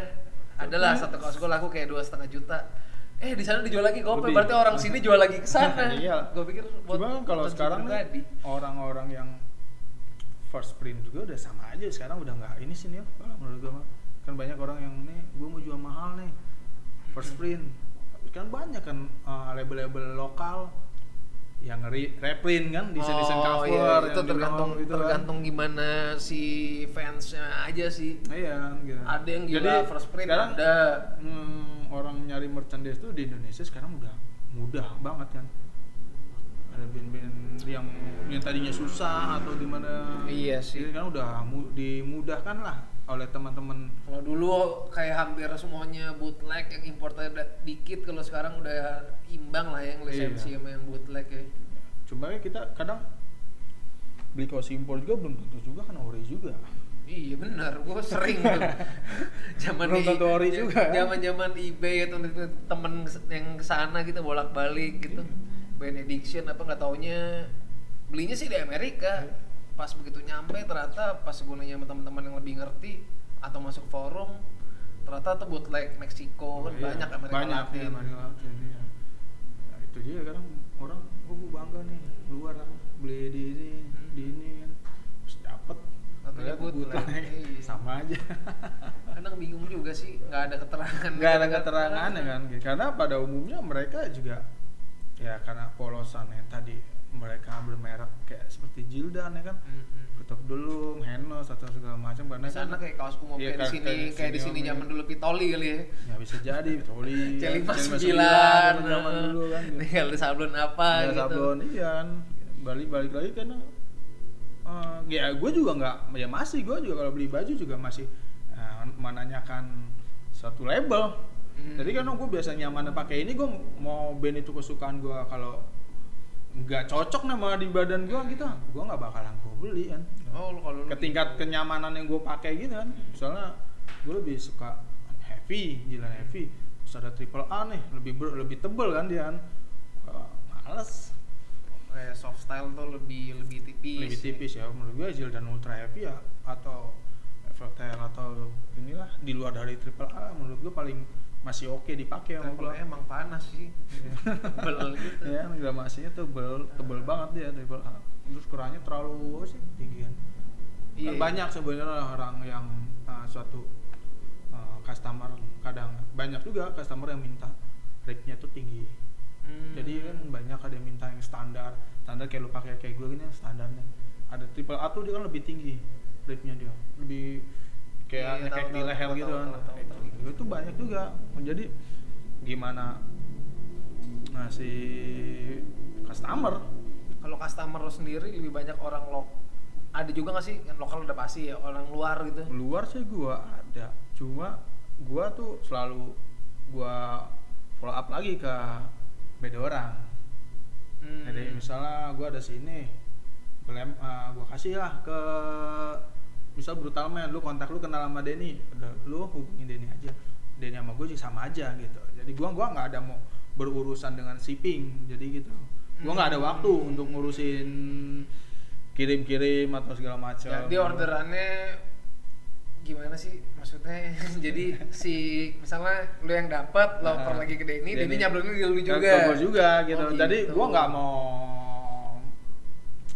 adalah satu kaos gua laku kayak dua setengah juta. Eh di sana dijual lagi gopay Lebih. berarti orang sini jual lagi ke sana. Iya. Gua pikir buat Cuma kan kalau konsumsi sekarang nih, pribadi. orang-orang yang first print juga udah sama aja sekarang udah nggak ini sih nih kalau menurut gua mah kan banyak orang yang nih gua mau jual mahal nih first Hmm. print Tapi kan banyak kan eh, label-label lokal yang ngeri reprint kan desain desain Oh, cover iya, yang itu di tergantung mall gitu kan. tergantung gimana si fansnya aja sih. iya gitu. Ada yang gila Jadi, first print sekarang, ada. hmm, orang nyari merchandise tuh di Indonesia sekarang udah mudah banget kan ada band-band yang yang tadinya susah atau gimana Iya sih. jadi kan udah mu- dimudahkan lah oleh teman-teman Kalau dulu kayak hampir semuanya bootleg yang importnya da- dikit kalau sekarang udah imbang lah ya, yang Iya. lisensi sama yang bootleg ya. cuma kan kita kadang beli kaos impor juga belum tentu juga kan ori juga Iya benar, gue sering tuh. Zaman Belum tentu ori juga. Zaman zaman eBay atau temen yang kesana gitu bolak balik gitu. Iya. Benediction apa nggak taunya belinya sih di Amerika. Iya. Pas begitu nyampe ternyata pas gue nanya sama teman-teman yang lebih ngerti atau masuk forum ternyata tuh bootleg Meksiko kan Iya, banyak Amerika banyak Latin. ya, Amerika Latin iya. Ya, itu dia kadang orang oh, gua bangga nih luar kan beli di ini Hmm. di ini kan terus dapet Satunya Ternyata bootleg. bootleg. Iya. sama aja Kadang bingung juga sih, nggak ada keterangan. nggak ada keterangan ya kan karena pada umumnya mereka juga ya karena polosan yang tadi mereka bermerek kayak seperti Jildan ya kan Mm-mm. ketok dulu Henos atau segala macam karena Di sana kayak kaos kumup kayak di Iya, kayak- sini, kayak di kayak di sini sini Om, zaman ya. dulu Pitoli kali ya. nggak bisa jadi Toli Celi Celi pas Mas sembilan, Iya, Sembilan, zaman dulu kan gitu. nih ada sablon apa Ada gitu. sablon iya kan. balik balik lagi karena eh, ya gue juga nggak ya masih gue juga kalau beli baju juga masih eh, menanyakan satu label Hmm. jadi karena gue biasa nyaman pakai ini gue mau band itu kesukaan gue kalau nggak cocok nama di badan gue gitu gue nggak bakalan gue beli kan Oh, lu kalau lu ke tingkat gitu. kenyamanan yang gue pakai gitu kan misalnya gue lebih suka heavy gila heavy terus ada triple A nih lebih ber- lebih tebel kan dia kan Wah, males kayak gitu. Eh, soft style tuh lebih lebih tipis. lebih tipis ya menurut gue Jil dan ultra heavy ya atau Evertail atau inilah di luar dari triple A menurut gue paling masih oke dipakai Triple sama gue A Iya, emang panas sih. Iya. Tebel gitu. ya gramasinya tebel tebel banget dia triple A terus kurangnya terlalu apa sih tinggian Iya. Kan banyak sebenarnya orang yang uh, suatu uh, customer kadang banyak juga customer yang minta rate-nya tuh tinggi. Hmm. Jadi kan banyak ada yang minta yang standar, standar kayak lu pakai kayak gue gini yang standarnya. Ada triple A tuh dia kan lebih tinggi rate-nya dia. Lebih Iya, tahu, kayak kayak di tahu, leher tahu, gitu tahu, kan. tahu, tahu, Itu- tahu. Itu banyak juga. Jadi gimana nah si customer kalau customer lu sendiri lebih banyak orang lo ada juga nggak sih yang lokal udah pasti ya orang luar gitu luar sih gua ada cuma gua tuh selalu gua follow up lagi ke beda orang Hmm. jadi misalnya gua ada sini gua, lem- eh, gua kasih lah ke misal brutal man lu kontak lu kenal sama Denny udah lu hubungin Denny aja Denny sama gue sih sama aja gitu jadi gua gua nggak ada mau berurusan dengan shipping jadi gitu gua nggak ada waktu untuk ngurusin kirim-kirim atau segala macam Jadi orderannya gimana sih maksudnya? Jadi si misalnya lu yang dapat loper Ah, lagi ke Denny, Denny Denny. nyablonin ke lu juga. Ke gua juga gitu. Oh, Jadi gitu. gua nggak mau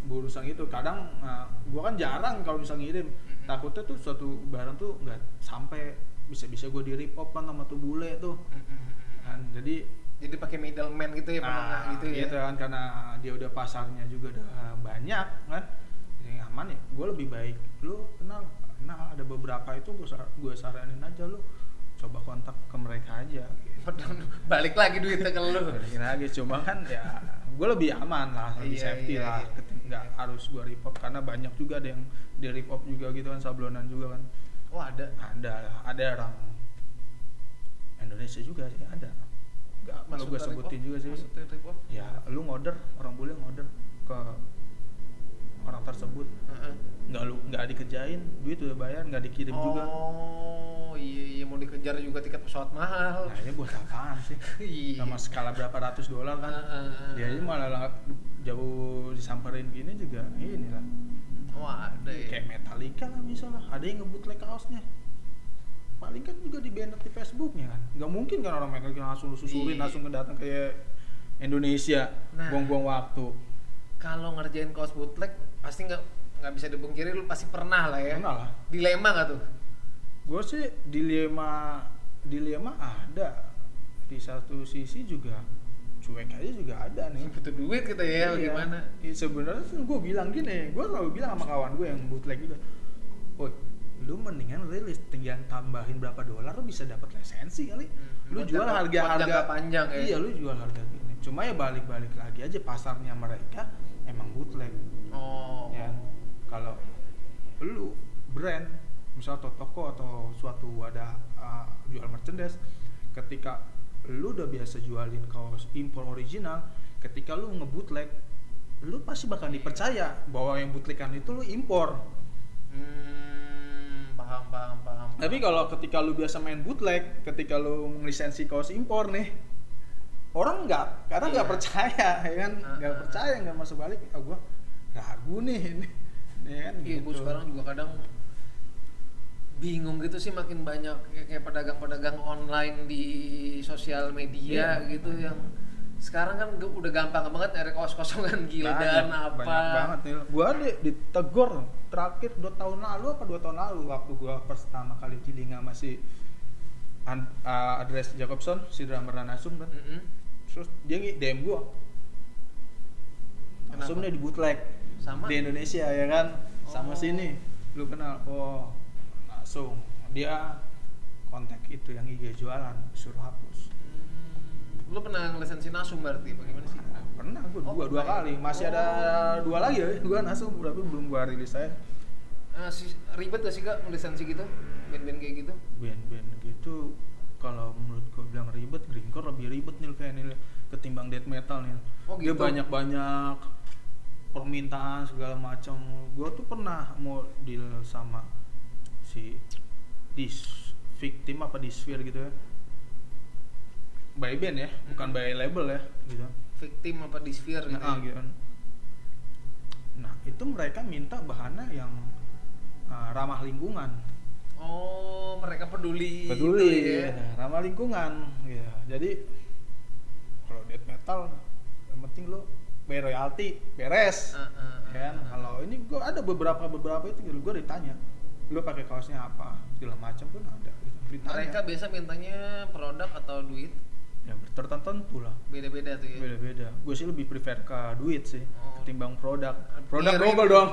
berurusan itu. Kadang eh, gua kan jarang kalau bisa ngirim. Mhm. Takutnya tuh suatu barang tuh nggak sampai bisa-bisa gua di rip off kan sama tuh bule tuh. Mm-mm. Kan, jadi jadi pakai middleman gitu ya penengah gitu ya kan karena dia udah pasarnya juga udah eh, banyak kan yang aman ya gue lebih baik lu kenal nah ada beberapa itu gue gue saranin aja lu coba kontak ke mereka aja gitu. Padahal balik lagi duitnya ke lu Balikin lagi cuma kan ya gue lebih aman lah lebih Iya, safety iya, lah iya. Ket- nggak harus gue rip off karena banyak juga ada yang di rip off juga gitu kan sablonan juga kan oh ada ada ada orang Indonesia juga sih ada nggak perlu Masuk ke gue rip sebutin off? juga sih Masuk ke rip off? ya lu ngorder orang bule ngorder ke orang tersebut Heeh. nggak lu nggak dikerjain duit udah bayar nggak dikirim juga oh iya iya mau dikejar juga tiket pesawat mahal nah ini buat apaan sih Iya. sama skala berapa ratus dolar kan Heeh. dia aja malah lang- jauh disamperin gini juga ini lah oh ada ya kayak Metallica lah misalnya ada yang ngebutlek kaosnya paling kan juga di banner di Facebooknya kan nggak mungkin kan orang Metallica langsung lu susurin Iya. langsung ke datang kayak Indonesia Nah. buang-buang waktu kalau ngerjain kaos bootleg pasti nggak nggak bisa dipungkiri lu pasti pernah lah ya Pernah lah. dilema nggak tuh gue sih dilema dilema ada di satu sisi juga cuek aja juga ada nih butuh duit gitu ya Iya. gimana Iya, sebenarnya gue bilang gini, gue selalu bilang sama kawan gue yang bootleg juga, woi lu mendingan rilis tinggal tambahin berapa dolar lu bisa dapat lisensi kali Hmm, lu buat jual jangka- harga buat harga jangka panjang ya. iya lu jual harga gini cuma ya balik balik lagi aja pasarnya mereka emang bootleg oh ya kalau lu brand misal atau toko atau suatu ada uh, jual merchandise ketika lu udah biasa jualin kaos impor original ketika lu nge-bootleg lu pasti bakal dipercaya bahwa yang bootlegan itu lu impor Hmm, paham paham paham tapi kalau ketika lu biasa main bootleg ketika lu ngelisensi kaos impor nih orang nggak karena nggak Iya. percaya ya kan nggak Ah. percaya nggak masuk balik ah gua ragu nih ini ya kan Iya, gue gitu. sekarang juga kadang bingung gitu sih makin banyak kayak kayak pedagang-pedagang online di sosial media Iya. gitu yang sekarang kan gue udah gampang banget nyari kos-kosongan gila dan Banyak, apa banyak banget nih gua di, ditegur terakhir dua tahun lalu apa dua tahun lalu waktu gua pertama kali Cilinga masih an, uh, address Jacobson si drummer Nanasum kan Mm-mm. terus dia nge- DM gua Kenapa? langsung dia di bootleg Sama? di Indonesia ya kan sama Oh. sini lu kenal oh langsung dia kontak itu yang IG jualan suruh hapus Hmm, lu pernah ngelisensi nasum berarti bagaimana sih? Nah, pernah gue Oh, dua dua pernah ya? kali masih ada Oh. dua lagi ya gue nasum tapi belum gua rilis aja Eh, si- ribet gak sih kak ngelisensi gitu? Band-band kayak gitu? band-band gitu kalau menurut gue bilang ribet greencore lebih ribet nih kayak nih ketimbang death metal nih Oh, dia gitu. banyak banyak permintaan segala macam gue tuh pernah mau deal sama si dis victim apa di sphere gitu ya by band ya bukan by label ya gitu Victim apa di sphere gitu? Nah, ya? gitu kan. nah itu mereka minta bahannya yang uh, ramah lingkungan Oh, mereka peduli. peduli gitu ya. nah, ramah lingkungan ya jadi kalau death metal yang penting lo bayar royalti beres Ah, ah, ah, kan ah. kalau ini gua ada beberapa beberapa itu gue ditanya lo pakai kaosnya apa segala macam pun ada gitu. ditanya Mereka biasa mintanya produk atau duit ya tertentu lah beda-beda tuh ya. beda-beda gue sih lebih prefer ke duit sih Oh. ketimbang produk produk Kirim. double dong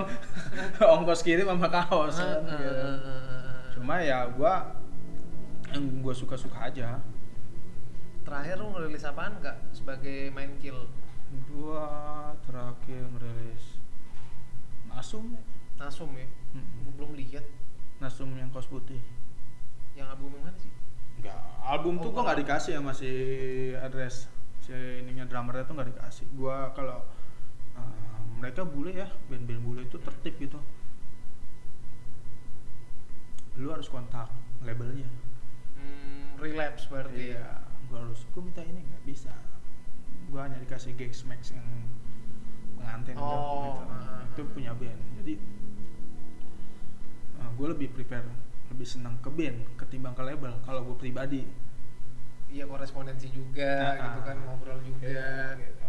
ongkos kirim sama kaos Ah, kan, ah, gitu. ah, ah. cuma ya gua yang gue suka-suka aja Terakhir lu ngerilis apaan kak sebagai main kill? gua terakhir ngerilis Nasum ya? Nasum ya? Gua Mm-mm. belum lihat Nasum yang kaos putih yang album yang mana sih? Enggak, album tuh Oh, gua nggak kalau- dikasih sama si address si ininya drummernya tuh nggak dikasih gua kalau uh, mereka bule ya band-band bule itu tertib gitu lu harus kontak labelnya Hmm, relapse berarti. ya? iya gua harus gua minta ini nggak bisa gua hanya dikasih gigs max yang pengantin doang Oh, gitu. Nah, ah. itu punya band jadi eh, gua lebih prepare lebih senang ke band ketimbang ke label kalau gua pribadi Iya korespondensi juga Ah, gitu kan ah. ngobrol juga. gitu.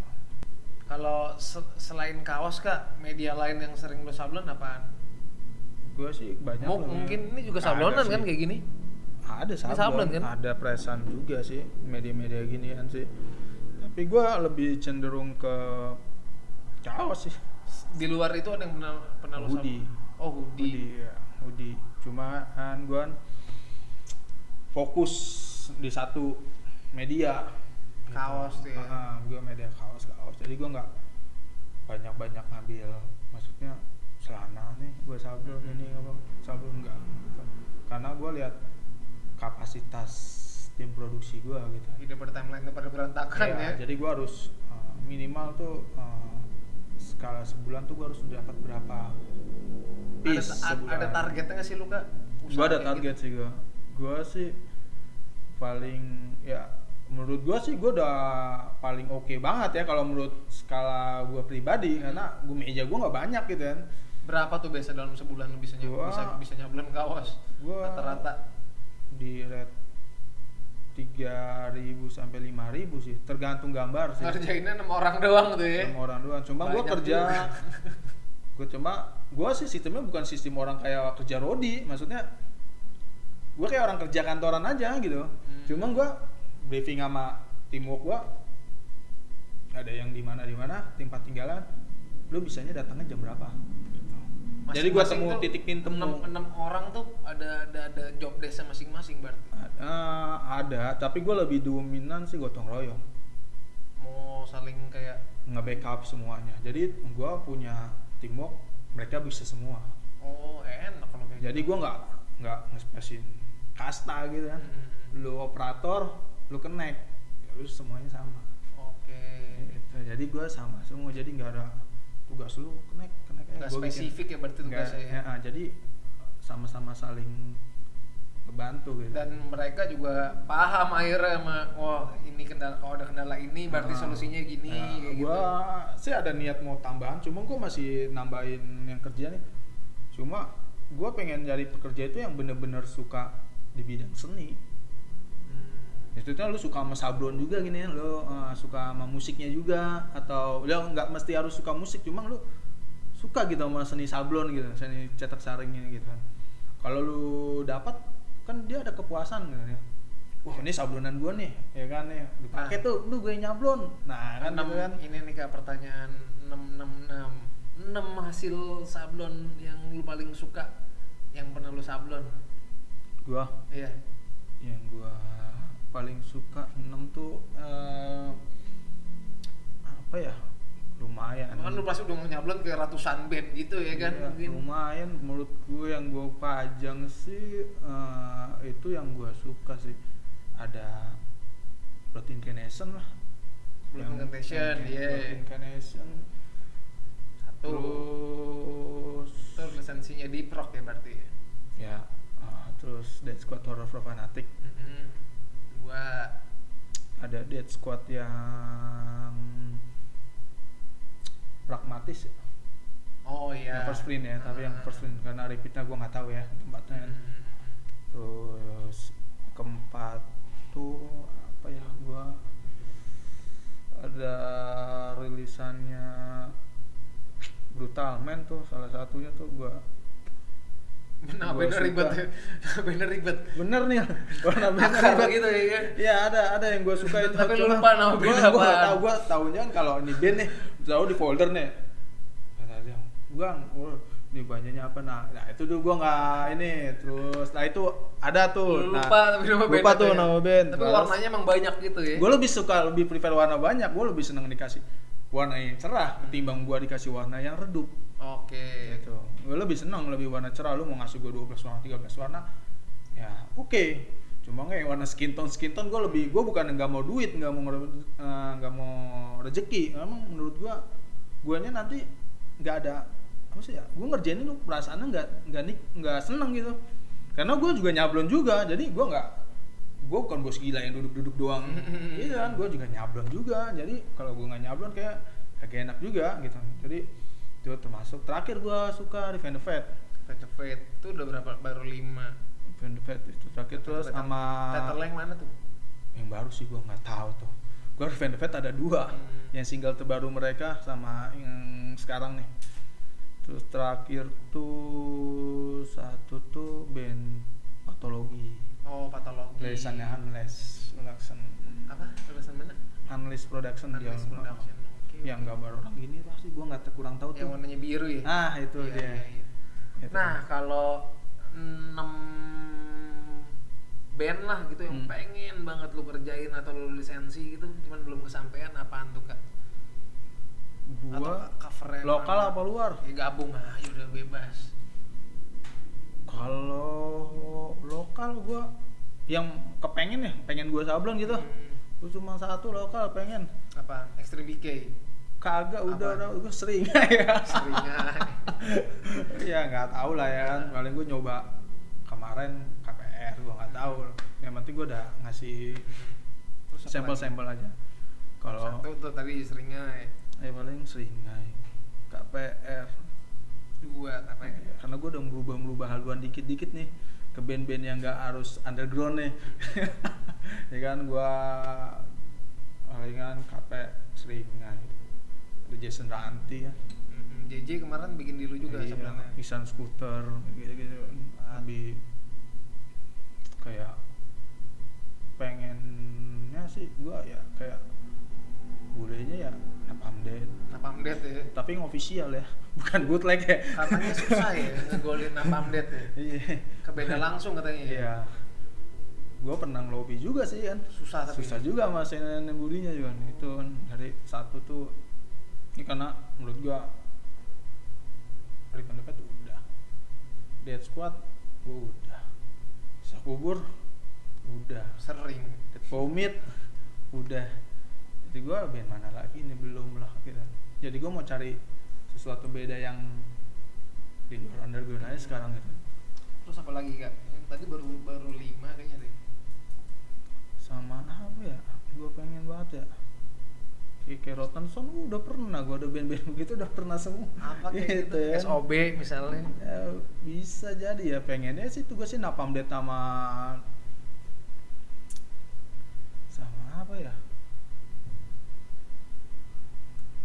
Kalau se- selain kaos kak, media lain yang sering lu sablon apaan? gua sih banyak Mau lah ya. mungkin ini juga Ada sablonan sih. kan kayak gini? ada sablon, sablon kan? ada presan juga sih media-media ginian sih tapi gue lebih cenderung ke Jawa sih Di luar itu ada yang pernah pernah lo Hoodie. sama? Oh, hoodie. Udi ya Udi cuman gue fokus di satu media Kaos tuh ya. gue media kaos kaos jadi gue nggak banyak banyak ngambil maksudnya celana nih gue sablon Mhm. ini apa sablon enggak gitu. karena gue lihat kapasitas tim produksi gue gitu Ide pada timeline itu pada berantakan ya. Iya, Jadi gue harus uh, minimal tuh uh, skala sebulan tuh gue harus dapat berapa Ada, piece a- sebulan. ada targetnya nggak sih lu kak? gitu. Gue ada target sih gue. Gue sih paling ya menurut gue sih gue udah paling oke banget ya kalau menurut skala gue pribadi karena gue meja gue nggak banyak gitu kan. Berapa tuh biasa dalam sebulan lu bisa nyablon, Gua- bisa, bisa nyablon kaos? Gua- Rata-rata. Di red 3000 sampai 5000 sih tergantung gambar sih. Ngerjainnya enam orang doang tuh ya. sama orang doang cuma gue Banyak kerja juga. gue cuma gue sih sistemnya bukan sistem orang kayak kerja rodi maksudnya gue kayak orang kerja kantoran aja gitu Hmm. cuma gue briefing sama teamwork gue ada yang di mana di mana tempat tinggalan lu bisanya datangnya jam berapa Gitu. jadi gue Masing-masing temu tuh titik pin temu enam enam orang tuh ada ada ada job desa masing-masing berarti. Eh, ada tapi gue lebih dominan sih gotong royong Mau saling kayak nge-backup semuanya jadi gue punya teamwork mereka bisa semua oh enak kalau kayak gitu. jadi gue nggak nggak ngespesin kasta gitu kan Hmm. lu operator lu connect ya lu semuanya sama Oke. Gitu. jadi gue sama semua jadi nggak ada tugas lu connect connect Eh, Nggak spesifik ya berarti tugasnya ya. jadi sama-sama saling ngebantu gitu Dan mereka juga paham akhirnya sama wah ini kendala oh ada kendala ini berarti Nah, solusinya gini nah, kayak gitu. gua sih ada niat mau tambahan cuma gua masih nambahin yang kerja nih cuma gua pengen nyari pekerja itu yang bener-bener suka di bidang seni Hmm. Ya, itu tuh lu suka sama sablon juga gini ya, lu eh, suka sama musiknya juga atau lu nggak mesti harus suka musik cuma lu suka gitu sama seni sablon gitu seni cetak saringnya gitu kan kalau lu dapat kan dia ada kepuasan gitu ya wah ini sablonan gua nih ya kan ya dipakai Nah. tuh lu gue nyablon nah kan enam gitu kan ini nih kak pertanyaan 666 6 hasil sablon yang lu paling suka yang pernah lu sablon gua iya yang gua paling suka enam tuh eh, apa ya lumayan kan lu pasti udah nyablon ke ratusan band gitu ya kan mungkin Iya, lumayan menurut gue yang gue pajang sih eh, itu yang gue suka sih ada Blood Incarnation lah Blood Yang- Incarnation, yang iya. Blood Incarnation satu terus itu lisensinya di prok ya berarti ya ya ah, terus Dead Squad Horror for Fanatic Mhm. dua ada Dead Squad yang pragmatis ya. oh iya yang first print ya tapi yang first print karena repeatnya gue nggak tahu ya tempatnya Mm-hmm. Hmm. kan. terus keempat tuh apa ya gua ada rilisannya brutal man tuh salah satunya tuh gua benar Gua benar Nah, suka. ribet benar ribet bener nih warna bener akar ribet. gitu ya kan Iya ada ada yang gue suka itu. Tapi lu cuma lupa nama gua- bandnya Gua nggak apaan. tahu gue tahunya kan kalau ini band nih, tahu di folder nih. Kata dia, Bang, oh, ini bandnya apa nah? Nah itu tuh gue nggak ini. Terus nah itu ada tuh. Lu Nah, lupa tapi nama band lupa apa tuh ya? nama band. Nah, tapi warnanya emang banyak gitu ya Gue lebih suka lebih prefer warna banyak. Gue lebih seneng dikasih warna yang cerah ketimbang gue dikasih warna yang redup oke gitu gue lebih senang lebih warna cerah lu mau ngasih gue 12 warna 13 warna ya oke cuma nggak yang warna skin tone skin tone gue lebih gue bukan nggak mau duit nggak mau ngere- eh, nggak mau rezeki emang menurut gue guanya nanti nggak ada apa sih ya gue ngerjain lu perasaannya nggak nggak nik nggak seneng gitu karena gue juga nyablon juga jadi gue nggak gue bukan bos gila yang duduk-duduk doang gitu kan gue juga nyablon juga jadi kalau gue nggak nyablon kayak kagak enak juga gitu jadi itu termasuk terakhir gue suka di Van de Vet Fate of Fate itu udah berapa baru lima Van de Vet itu terakhir terus Fate of- sama Fate of Lang mana tuh yang baru sih gue nggak tahu tuh gue di Van de Vet ada dua Hmm. yang single terbaru mereka sama yang sekarang nih terus terakhir tuh satu tuh band patologi oh patologi tulisannya Unless Relaxation apa tulisan mana analis production dia Analis production. Oke. yang gambar orang gini pasti gua nggak kurang tahu Yang tuh warnanya biru ya. ah itu Iya, dia iya, iya. Itu. Nah, kalau 6 band lah gitu yang Hmm. pengen banget lu kerjain atau lu lisensi gitu, cuman belum kesampaian apaan tuh Kak? atau gua covernya lokal mana? apa luar Ya gabung aja udah bebas. kalau lokal gua yang kepengen ya pengen gua sablon gitu Hmm, gua cuma satu lokal pengen apa? Extreme BK. kagak udah Apa? udah gua sering ya Seringan. ya nggak tahu lah ya kan paling gue nyoba kemarin KPR gue nggak tahu Hmm. yang penting gue udah ngasih Terus apa sampel-sampel aja lagi? kalau satu tuh tadi seringai, ya paling seringai KPR dua apa ya? karena gue udah merubah-merubah haluan dikit-dikit nih ke band-band yang nggak harus underground nih ya kan gue palingan KPR seringai ya. ada Jason Ranti ya Mm-mm, JJ hmm, kemarin bikin di lu juga Iya, sebenarnya. Nissan skuter gitu-gitu lebih kayak pengennya sih gua ya kayak bolehnya ya napalm death Napam Death ya. tapi yang official ya bukan bootleg ya Katanya susah ya ngegolin Napam Death ya. iya Ke beda langsung katanya ya. iya gua pernah ngelobi juga sih kan Susah Ah, tapi. susah juga mas yang budinya juga itu kan dari satu tuh ini karena menurut gua dari pendapat udah dead squad gua udah Sak kubur udah Sering. dead vomit udah jadi gua band mana lagi ini belum lah gitu jadi gua mau cari sesuatu beda yang di luar underground aja sekarang gitu Terus apa lagi kak? Yang Tadi baru baru lima kayaknya deh. sama apa ya gue pengen banget ya kayak kayak Rotten Stone udah pernah gue ada band-band begitu udah pernah semua Apa kayak gitu, Gitu ya. SOB misalnya. Ya, bisa jadi ya pengennya sih tuh gue sih napam Death sama sama apa ya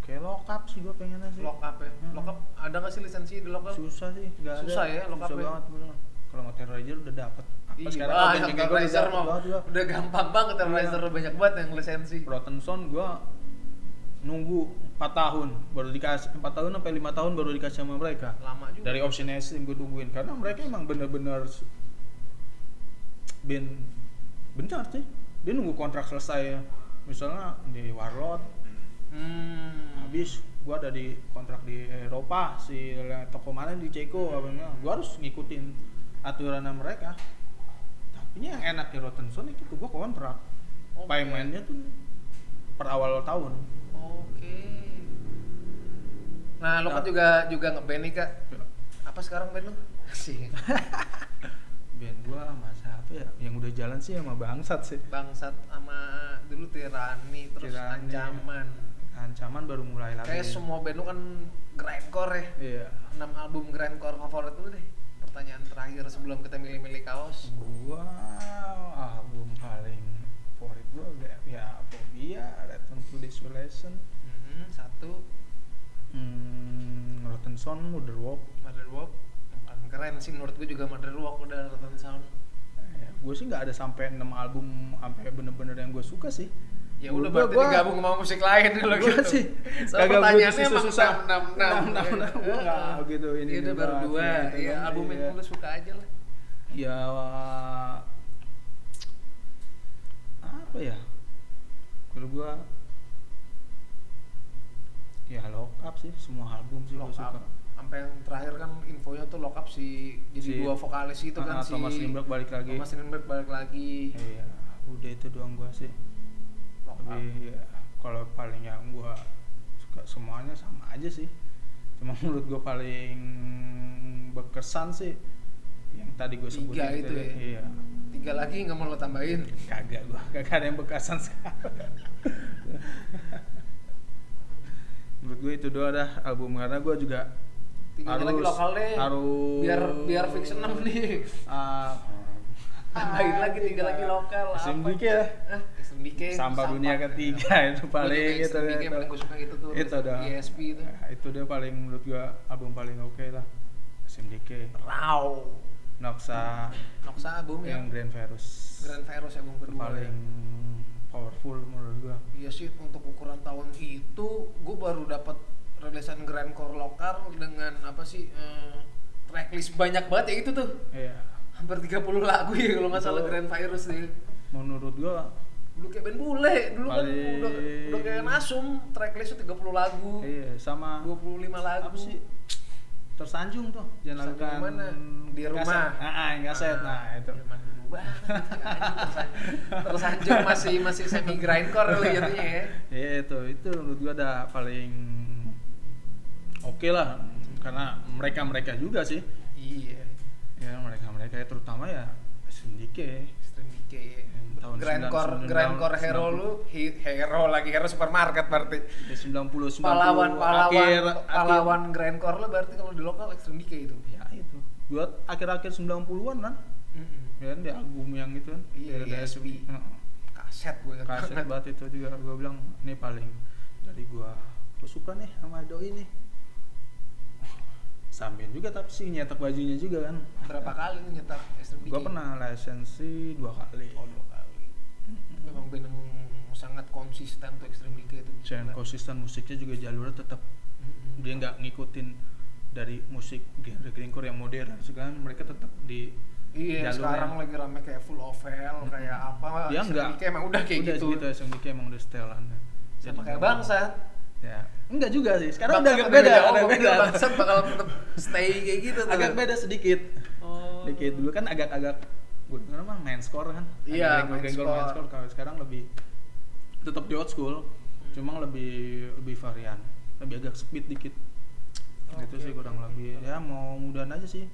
kayak lokap sih gue pengennya sih Lock up ya. Mm-mm. Lock up ada nggak sih lisensi di lock up? susah sih nggak ada Susah ya, lokap susah ya? banget bener. kalau nggak terrorizer udah dapet apa Iya, sekarang ah, kalau band kayak gue udah Terrorizer dapet mah banget gua. udah gampang banget Terrorizer Iya. banyak banget yang lisensi. Rotten Sound gue nunggu 4 tahun baru dikasih 4 tahun sampai 5 tahun baru dikasih sama mereka Lama juga. dari option S yang gue tungguin karena mereka emang bener-bener s- band bener sih dia nunggu kontrak selesai ya. misalnya di Warlord Hmm. habis gue ada di kontrak di Eropa si toko mana di Ceko apa gue harus ngikutin aturan mereka tapi yang enak di Rotten Sound itu gue kontrak Oke. paymentnya tuh per awal tahun Oke. Nah, lo kan Nah. juga juga ngeband nih kak. Apa sekarang band lo? Sih, band gua masa apa ya yang udah jalan sih sama bangsat sih bangsat sama dulu tirani terus Tirani. ancaman. ancaman baru mulai lagi Kayak semua band lo kan grindcore ya. iya 6 album grindcore favorit lu deh. Pertanyaan terakhir sebelum kita milih-milih kaos. gua album paling favorit gua udah ya Phobia, Return to Desolation, Mhm, Mm-hmm. satu hmm, Rotten Sound, Mother Walk. Mother Walk. Bukan Kan keren sih menurut gue juga Mother Walk udah Rotten Sound. Ya, gue sih nggak ada sampai 6 album sampai bener-bener yang gue suka sih. Ya udah Gua- berarti gua- digabung sama musik lain dulu Gua gitu. sih So, kagak pertanyaannya butuh emang susah-susah. 666. 666, gua nggak gitu, ini Iya, udah juga, baru dua. gitu Ya kan, album yang iya. lu suka aja lah. ya apa ya kalau gua ya lock up sih semua album sih gua Lock up. suka Sampai yang terakhir kan infonya tuh lock up si jadi Si- dua vokalis itu kan Ah, si Thomas Lindbergh balik lagi Thomas Lindbergh balik lagi. iya udah itu doang gua sih Lock up. tapi ya, kalau paling yang gua suka semuanya sama aja sih cuma menurut gua paling berkesan sih yang tadi gua Tiga sebutin itu tadi. ya? iya Tiga lagi nggak mau lo tambahin. kagak gua kagak ada yang bekasan menurut gue itu doa dah album karena gue juga Tiganya lagi lokal deh. harus Biar biar fix 6 nih. Ah, Tambahin lagi tiga lagi lokal. apa? SMBK ya Ah, SMBK. Samba dunia ketiga itu paling itu itu SMBK yang itu. paling gue suka itu tuh. itu dah ESP itu. Nah, itu dia paling menurut gue album paling oke lah SMDK Raw. Noxa Noxa album yang yang Grand Virus ya. Grand Virus ya, album itu kedua. paling powerful menurut gua Iya sih untuk ukuran tahun itu gue baru dapat rilisan Grand Core Lokar dengan apa sih eh, tracklist banyak banget ya itu tuh iya hampir 30 lagu ya kalau nggak salah Betul. Grand Virus nih menurut gua dulu kayak band bule dulu kan Paling- udah, udah kayak nasum tracklistnya 30 lagu iya sama 25 lagu apa sih tersanjung tuh jangan Tersanjung lakukan mana? Di kaset. rumah. ah, ah, yang kaset nah, itu zaman dulu banget terus anjir masih masih semi grindcore dulu jadinya ya iya itu itu menurut gua ada paling oke lah karena mereka mereka juga sih iya ya mereka mereka ya terutama ya Sindike Extreme Decay ya. Yang Hmm, tahun grindcore 99, grindcore hero lu hi- hero lagi hero supermarket berarti ya 90 90 pahlawan pahlawan akhir, pahlawan grandcore lu berarti kalau di lokal Extreme Decay itu akhir, ya itu buat akhir-akhir 90-an kan Mm-mm. ya kan di album yang itu kan Iya, Ada ESP. Heeh. kaset ya. gue ingat kaset banget. banget itu juga gue bilang ini paling dari gua gue suka nih sama doi nih sambil juga tapi sih nyetak bajunya juga kan berapa kali lu nyetak Extreme Decay gue pernah lisensi dua kali oh dua kali memang band yang sangat konsisten tuh Extreme Decay itu dan Gila. konsisten musiknya juga jalurnya tetap Mm-mm. dia nggak ngikutin dari musik genre grindcore yang modern segala mereka tetap di Iya, jalurnya. sekarang lagi rame kayak full oval, kayak apa. dia nggak Kayak emang udah kayak udah gitu. gitu SMDK emang udah setelannya Sama Jadi kayak nggak- bangsa. ya enggak juga sih sekarang udah Bangsat agak beda Oh, agak gua pikir beda Bangsat bakal tetep stay kayak gitu tuh. agak beda sedikit Oh. dikit dulu kan agak-agak gue denger mah main score kan Iya, main main score score. main score kalau sekarang lebih tetap di old school Hmm. cuma lebih lebih varian lebih agak speed dikit gitu Oke, sih kurang oke, oke. lebih ya mau mudahan aja sih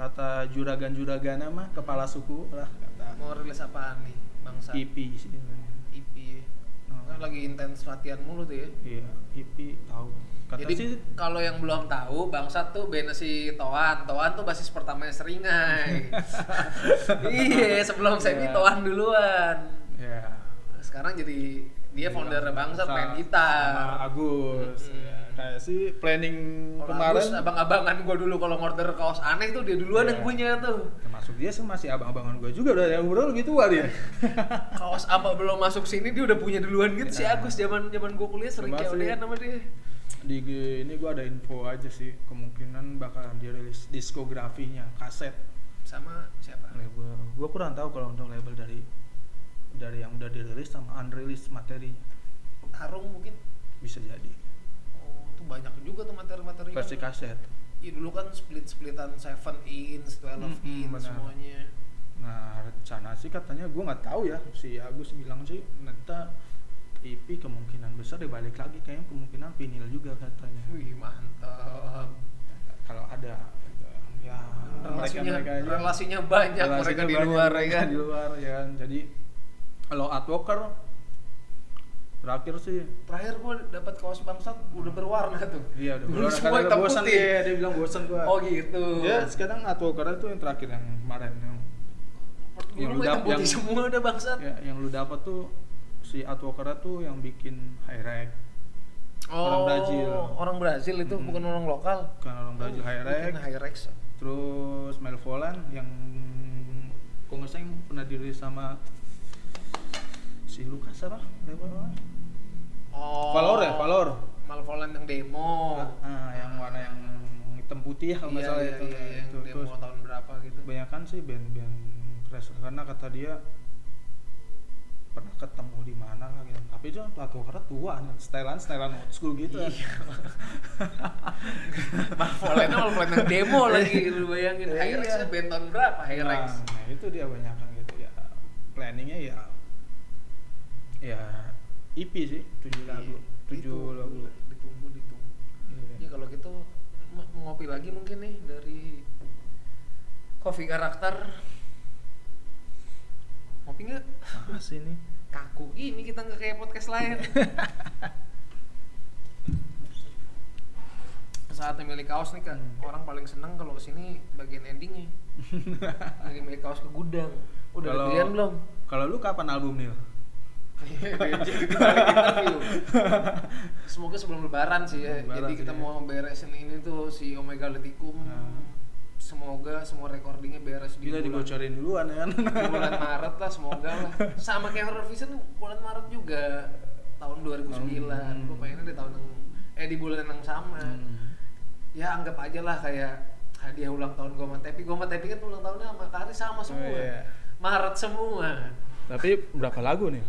kata juragan juragan mah kepala suku lah kata Mau rilis apaan nih, bangsa? EP sih sebenarnya. IP. Hmm. Kan lagi intens latihan mulu tuh ya. iya EP tahu kata Jadi sih kalau yang belum tahu, Bangsat tuh bandnya si Toan. Toan tuh basis pertamanya Seringai. iya, sebelum Semi Iya. Toan duluan. ya Sekarang jadi dia founder Bangsat main sama gitar. Agus Mm-mm. ya, kayak sih planning Kalau kemarin Agus abang-abangan gue dulu kalau order kaos aneh tuh dia duluan Iya. yang punya tuh. termasuk dia sih masih abang-abangan gue juga udah yang udah lebih tua dia Kaos apa belum masuk sini dia udah punya duluan gitu si Iya. Agus zaman zaman gue kuliah sering Cuma sih- COD-an sama dia. di G- ini gue ada info aja sih kemungkinan bakalan dirilis diskografinya kaset Sama siapa? label gue kurang tahu kalau untuk label dari dari yang udah dirilis sama unrilis materinya Harung mungkin. bisa jadi Oh, tuh banyak juga tuh materi-materi. versi Kan. kaset Iya dulu kan split-splitan 7 inch, 12 Mm-mm, inch benar. semuanya. nah rencana sih katanya gue nggak tahu ya si Agus bilang sih nanti EP kemungkinan besar dibalik lagi kayaknya kemungkinan vinyl juga katanya Wih, mantap. kalau ada ya Relasinya, mereka-mereka aja. relasinya banyak mereka Relasinya di banyak luar ya mereka kan. di luar ya kan. jadi kalau adwoker terakhir sih Terakhir gue dapat kaos bangsat udah berwarna tuh. iya udah Dulu keluar. semua Karena hitam dia bosan putih. dia dia bilang bosan gua Oh gitu. ya sekarang adwoker itu yang terakhir yang kemarin yang Dulu Ya, Yang mah hitam dap- putih yang- semua udah bangsat. ya, yang lu dapat tuh si adwoker tuh yang bikin high rack orang Brazil. Oh, Orang Brazil itu Mm-mm. bukan orang lokal. bukan orang Brazil high rack Mungkin Oh, High Rex. terus Melvolan yang kok nggak salah yang pernah dirilis sama si Lukas apa Melvolan Oh. Valor ya, Valor. Malvolan yang demo. Ah, ah, yang warna yang hitam putih ya, kalau nggak Iya, salah iya, itu. iya, yang itu. demo Terus tahun berapa gitu. kebanyakan sih band-band crash karena kata dia pernah ketemu di mana lah gitu. Tapi itu kan pelaku karena tua, setelan setelan old school gitu. ya. Iya. Malvolannya Malvolan yang demo lagi lu bayangin. Iya. High Rex band tahun berapa High nah, Rex? nah, itu dia kebanyakan gitu ya. Planningnya ya ya EP sih, tujuh lagu, Iya. tujuh Itu, lagu. Iya. Ditunggu, ditunggu. Ya kalau gitu m- ngopi lagi mungkin nih dari kopi karakter. Ngopi nggak? Masih nih. Kaku gini kita nggak kayak podcast lain. Saatnya milik kaos nih kan. Hmm. Orang paling seneng kalau kesini bagian endingnya. Dari milik kaos ke gudang. Udah ada Kalau- pilihan belum? Kalau lu kapan album nih? Jadi dibalik interview. Semoga sebelum lebaran sih ya. Lebaran Jadi kita sih ya. mau beresin ini tuh si Omega Leticum. Nah. semoga semua recordingnya beres di Gila bulan, dibocorin duluan ya kan. di bulan Maret lah semoga lah sama kayak Horror Vision bulan Maret juga tahun 2009 Hmm. gue pengennya di tahun yang eh di bulan yang sama ya anggap aja lah kayak hadiah ulang tahun gue sama Tepi gue sama Tepi kan ulang tahunnya sama Kari sama semua iya. Maret semua Tapi berapa lagu nih?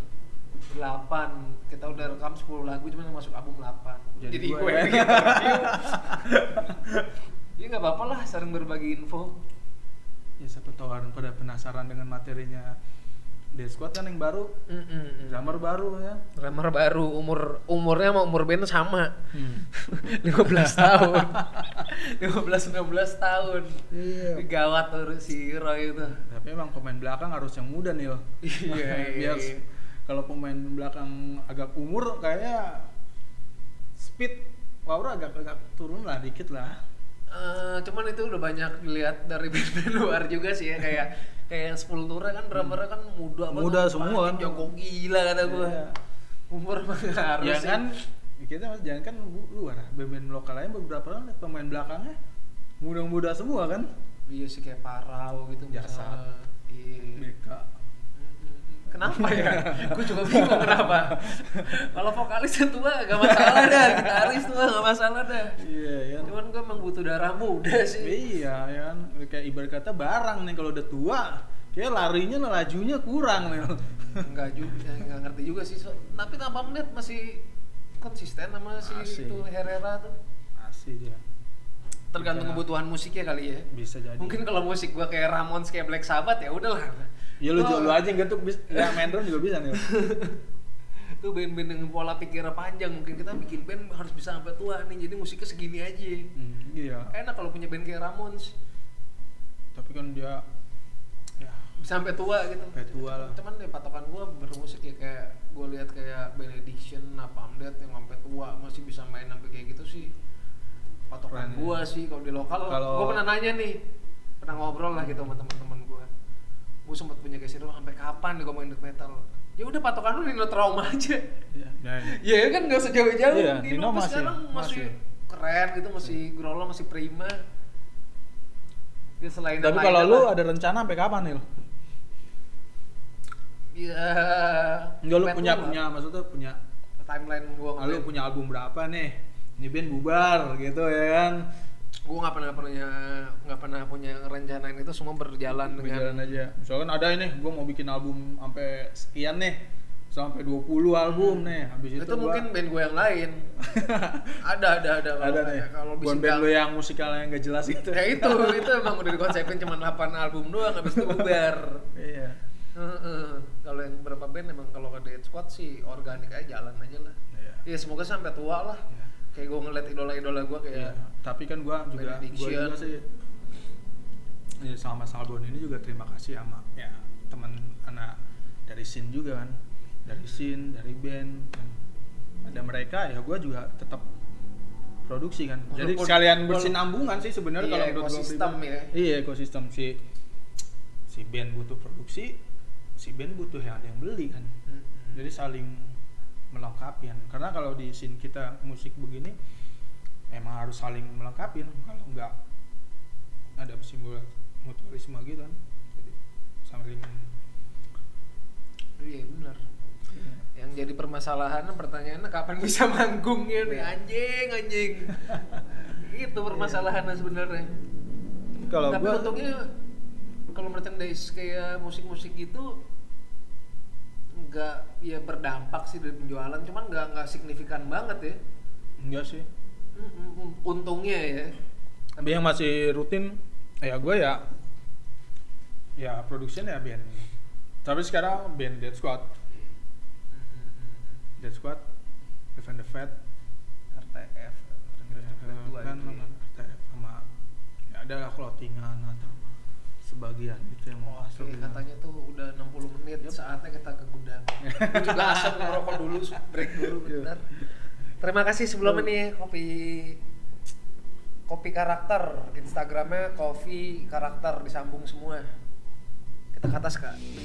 8 kita udah rekam 10 lagu cuman yang masuk album 8 Jadi jadi, dua gue ya. yang interview ya nggak apa-apa lah sering berbagi info Ya siapa tahu orang pada penasaran dengan materinya The Squad kan yang baru, drummer baru ya. drummer baru umur umurnya sama umur band sama Hmm. 15 tahun 15 16 tahun Iya. gawat tuh si Roy itu Tapi emang pemain belakang harus yang muda nih loh. Iya, iya, Biar iya. kalau pemain belakang agak umur kayaknya speed power agak agak turun lah dikit lah. Eh, cuman itu udah banyak dilihat dari band-band luar juga sih ya kayak kayak sepuluh tura kan drummernya kan muda banget Muda semua Wah, kan. joko gila kata gua Iya. umur pengaruh ya sih kan kita mas jangan kan bu- luar lah. band lokal lain beberapa orang lihat pemain belakangnya muda-muda semua kan iya sih kayak parau gitu Jasa. misalnya. iya BK Mm-mm. kenapa ya gua juga bingung kenapa kalau vokalis tua gak masalah dah gitaris tua gak masalah dah iya ya kan? cuman gua emang butuh darah muda sih iya ya kan kayak ibarat kata barang nih kalau udah tua kayak larinya lajunya kurang nih Enggak juga, enggak ngerti juga sih. So, tapi tanpa menit masih konsisten sama si Asik. itu Herrera tuh. asih dia Tergantung Bisa. kebutuhan musiknya kali ya. bisa jadi Mungkin kalau musik gua kayak Ramones kayak Black Sabbath ya udahlah. Oh, ya lu, Tuh- lu aja yang getuk bis ya main drum juga bisa nih Tuh band-band yang pola pikirnya panjang mungkin kita bikin band harus bisa sampai tua nih. Jadi musiknya segini aja. Hmm, iya Enak kalau punya band kayak Ramones tapi kan dia ya bisa sampai tua gitu. Sampai tua lah. Cuman ya patokan gua bermusik ya kayak gua lihat kayak Benediction, Napalm Death yang sampai tua masih bisa main sampai kayak gitu sih. Patokan Keren ya. gua sih kalau di lokal. Kalau- Gua pernah nanya nih, pernah ngobrol lah gitu sama teman-teman gua. Gua sempat punya geser sampai kapan nih gua main death metal. Ya udah patokan lu Nino Trauma aja. ya, ya. Ya kan nggak usah jauh-jauh. Iya, tuh Nino masih- sekarang masih, masih. keren gitu, masih grolo, masih prima. Ya selain tapi yang kalau lainnya lu lah. ada rencana sampai kapan nih Iya. Enggak lu Band punya lah. punya maksudnya punya timeline gua ah, lu punya album berapa nih? Ini band bubar gitu ya kan. Gua nggak pernah punya nggak pernah punya rencanain itu semua berjalan dengan Berjalan aja. Misalkan ada ini gua mau bikin album sampai sekian nih. Sampai 20 album nih. Habis Hmm. itu, itu, gua- mungkin band gua yang lain. ada ada ada kalau- ada nih. kalau bisa Bukan band lu ya. yang musikalnya yang gak jelas gitu. Ya itu itu emang udah dikonsepin cuma 8 album doang habis itu bubar. Iya. Heeh. kalau yang berapa band emang kalau ke Dead Squad sih organik aja jalan aja lah. Iya. Ya semoga sampai tua lah. Iya. Kayak gua ngeliat idola-idola gua Iya. kayak Tapi kan gua juga gua Benediction. juga sih ya, sama Salbon ini juga terima kasih sama ya teman anak dari scene juga kan dari scene dari band kan. ada mereka ya gue juga tetap produksi kan jadi Walaupun- sekalian walaupun- bersinambungan sih sebenarnya Iya, kalau menurut gua ekosistem pribadi. ya. iya ekosistem si si band butuh produksi si band butuh yang ada yang beli kan Mm-mm. jadi saling melengkapi kan karena kalau di scene kita musik begini emang harus saling melengkapi kan. kalau nggak ada simbol mutualisme gitu kan jadi saling Iya benar. Yang jadi permasalahan pertanyaannya kapan bisa manggungnya Iya. nih anjing anjing. Itu permasalahannya sebenarnya. kalau Tapi gua untungnya kalau merchandise kayak musik-musik gitu nggak ya berdampak sih dari penjualan, cuman nggak nggak signifikan banget ya. enggak sih Mm-mm, Untungnya ya. tapi yang masih rutin ya gue ya ya production ya band tapi sekarang band Dead Squad Dead Squad Event the Fat RTF, kan sama RTF sama ya ada lah clothingan atau sebagian itu yang mau masuk gitu. katanya tuh udah 60 menit Yep. saatnya kita ke gudang. Gua juga asap ngerokok dulu, break dulu bentar. Terima kasih sebelumnya nih kopi kopi karakter Instagramnya kopi karakter disambung semua. Kita ke atas kak.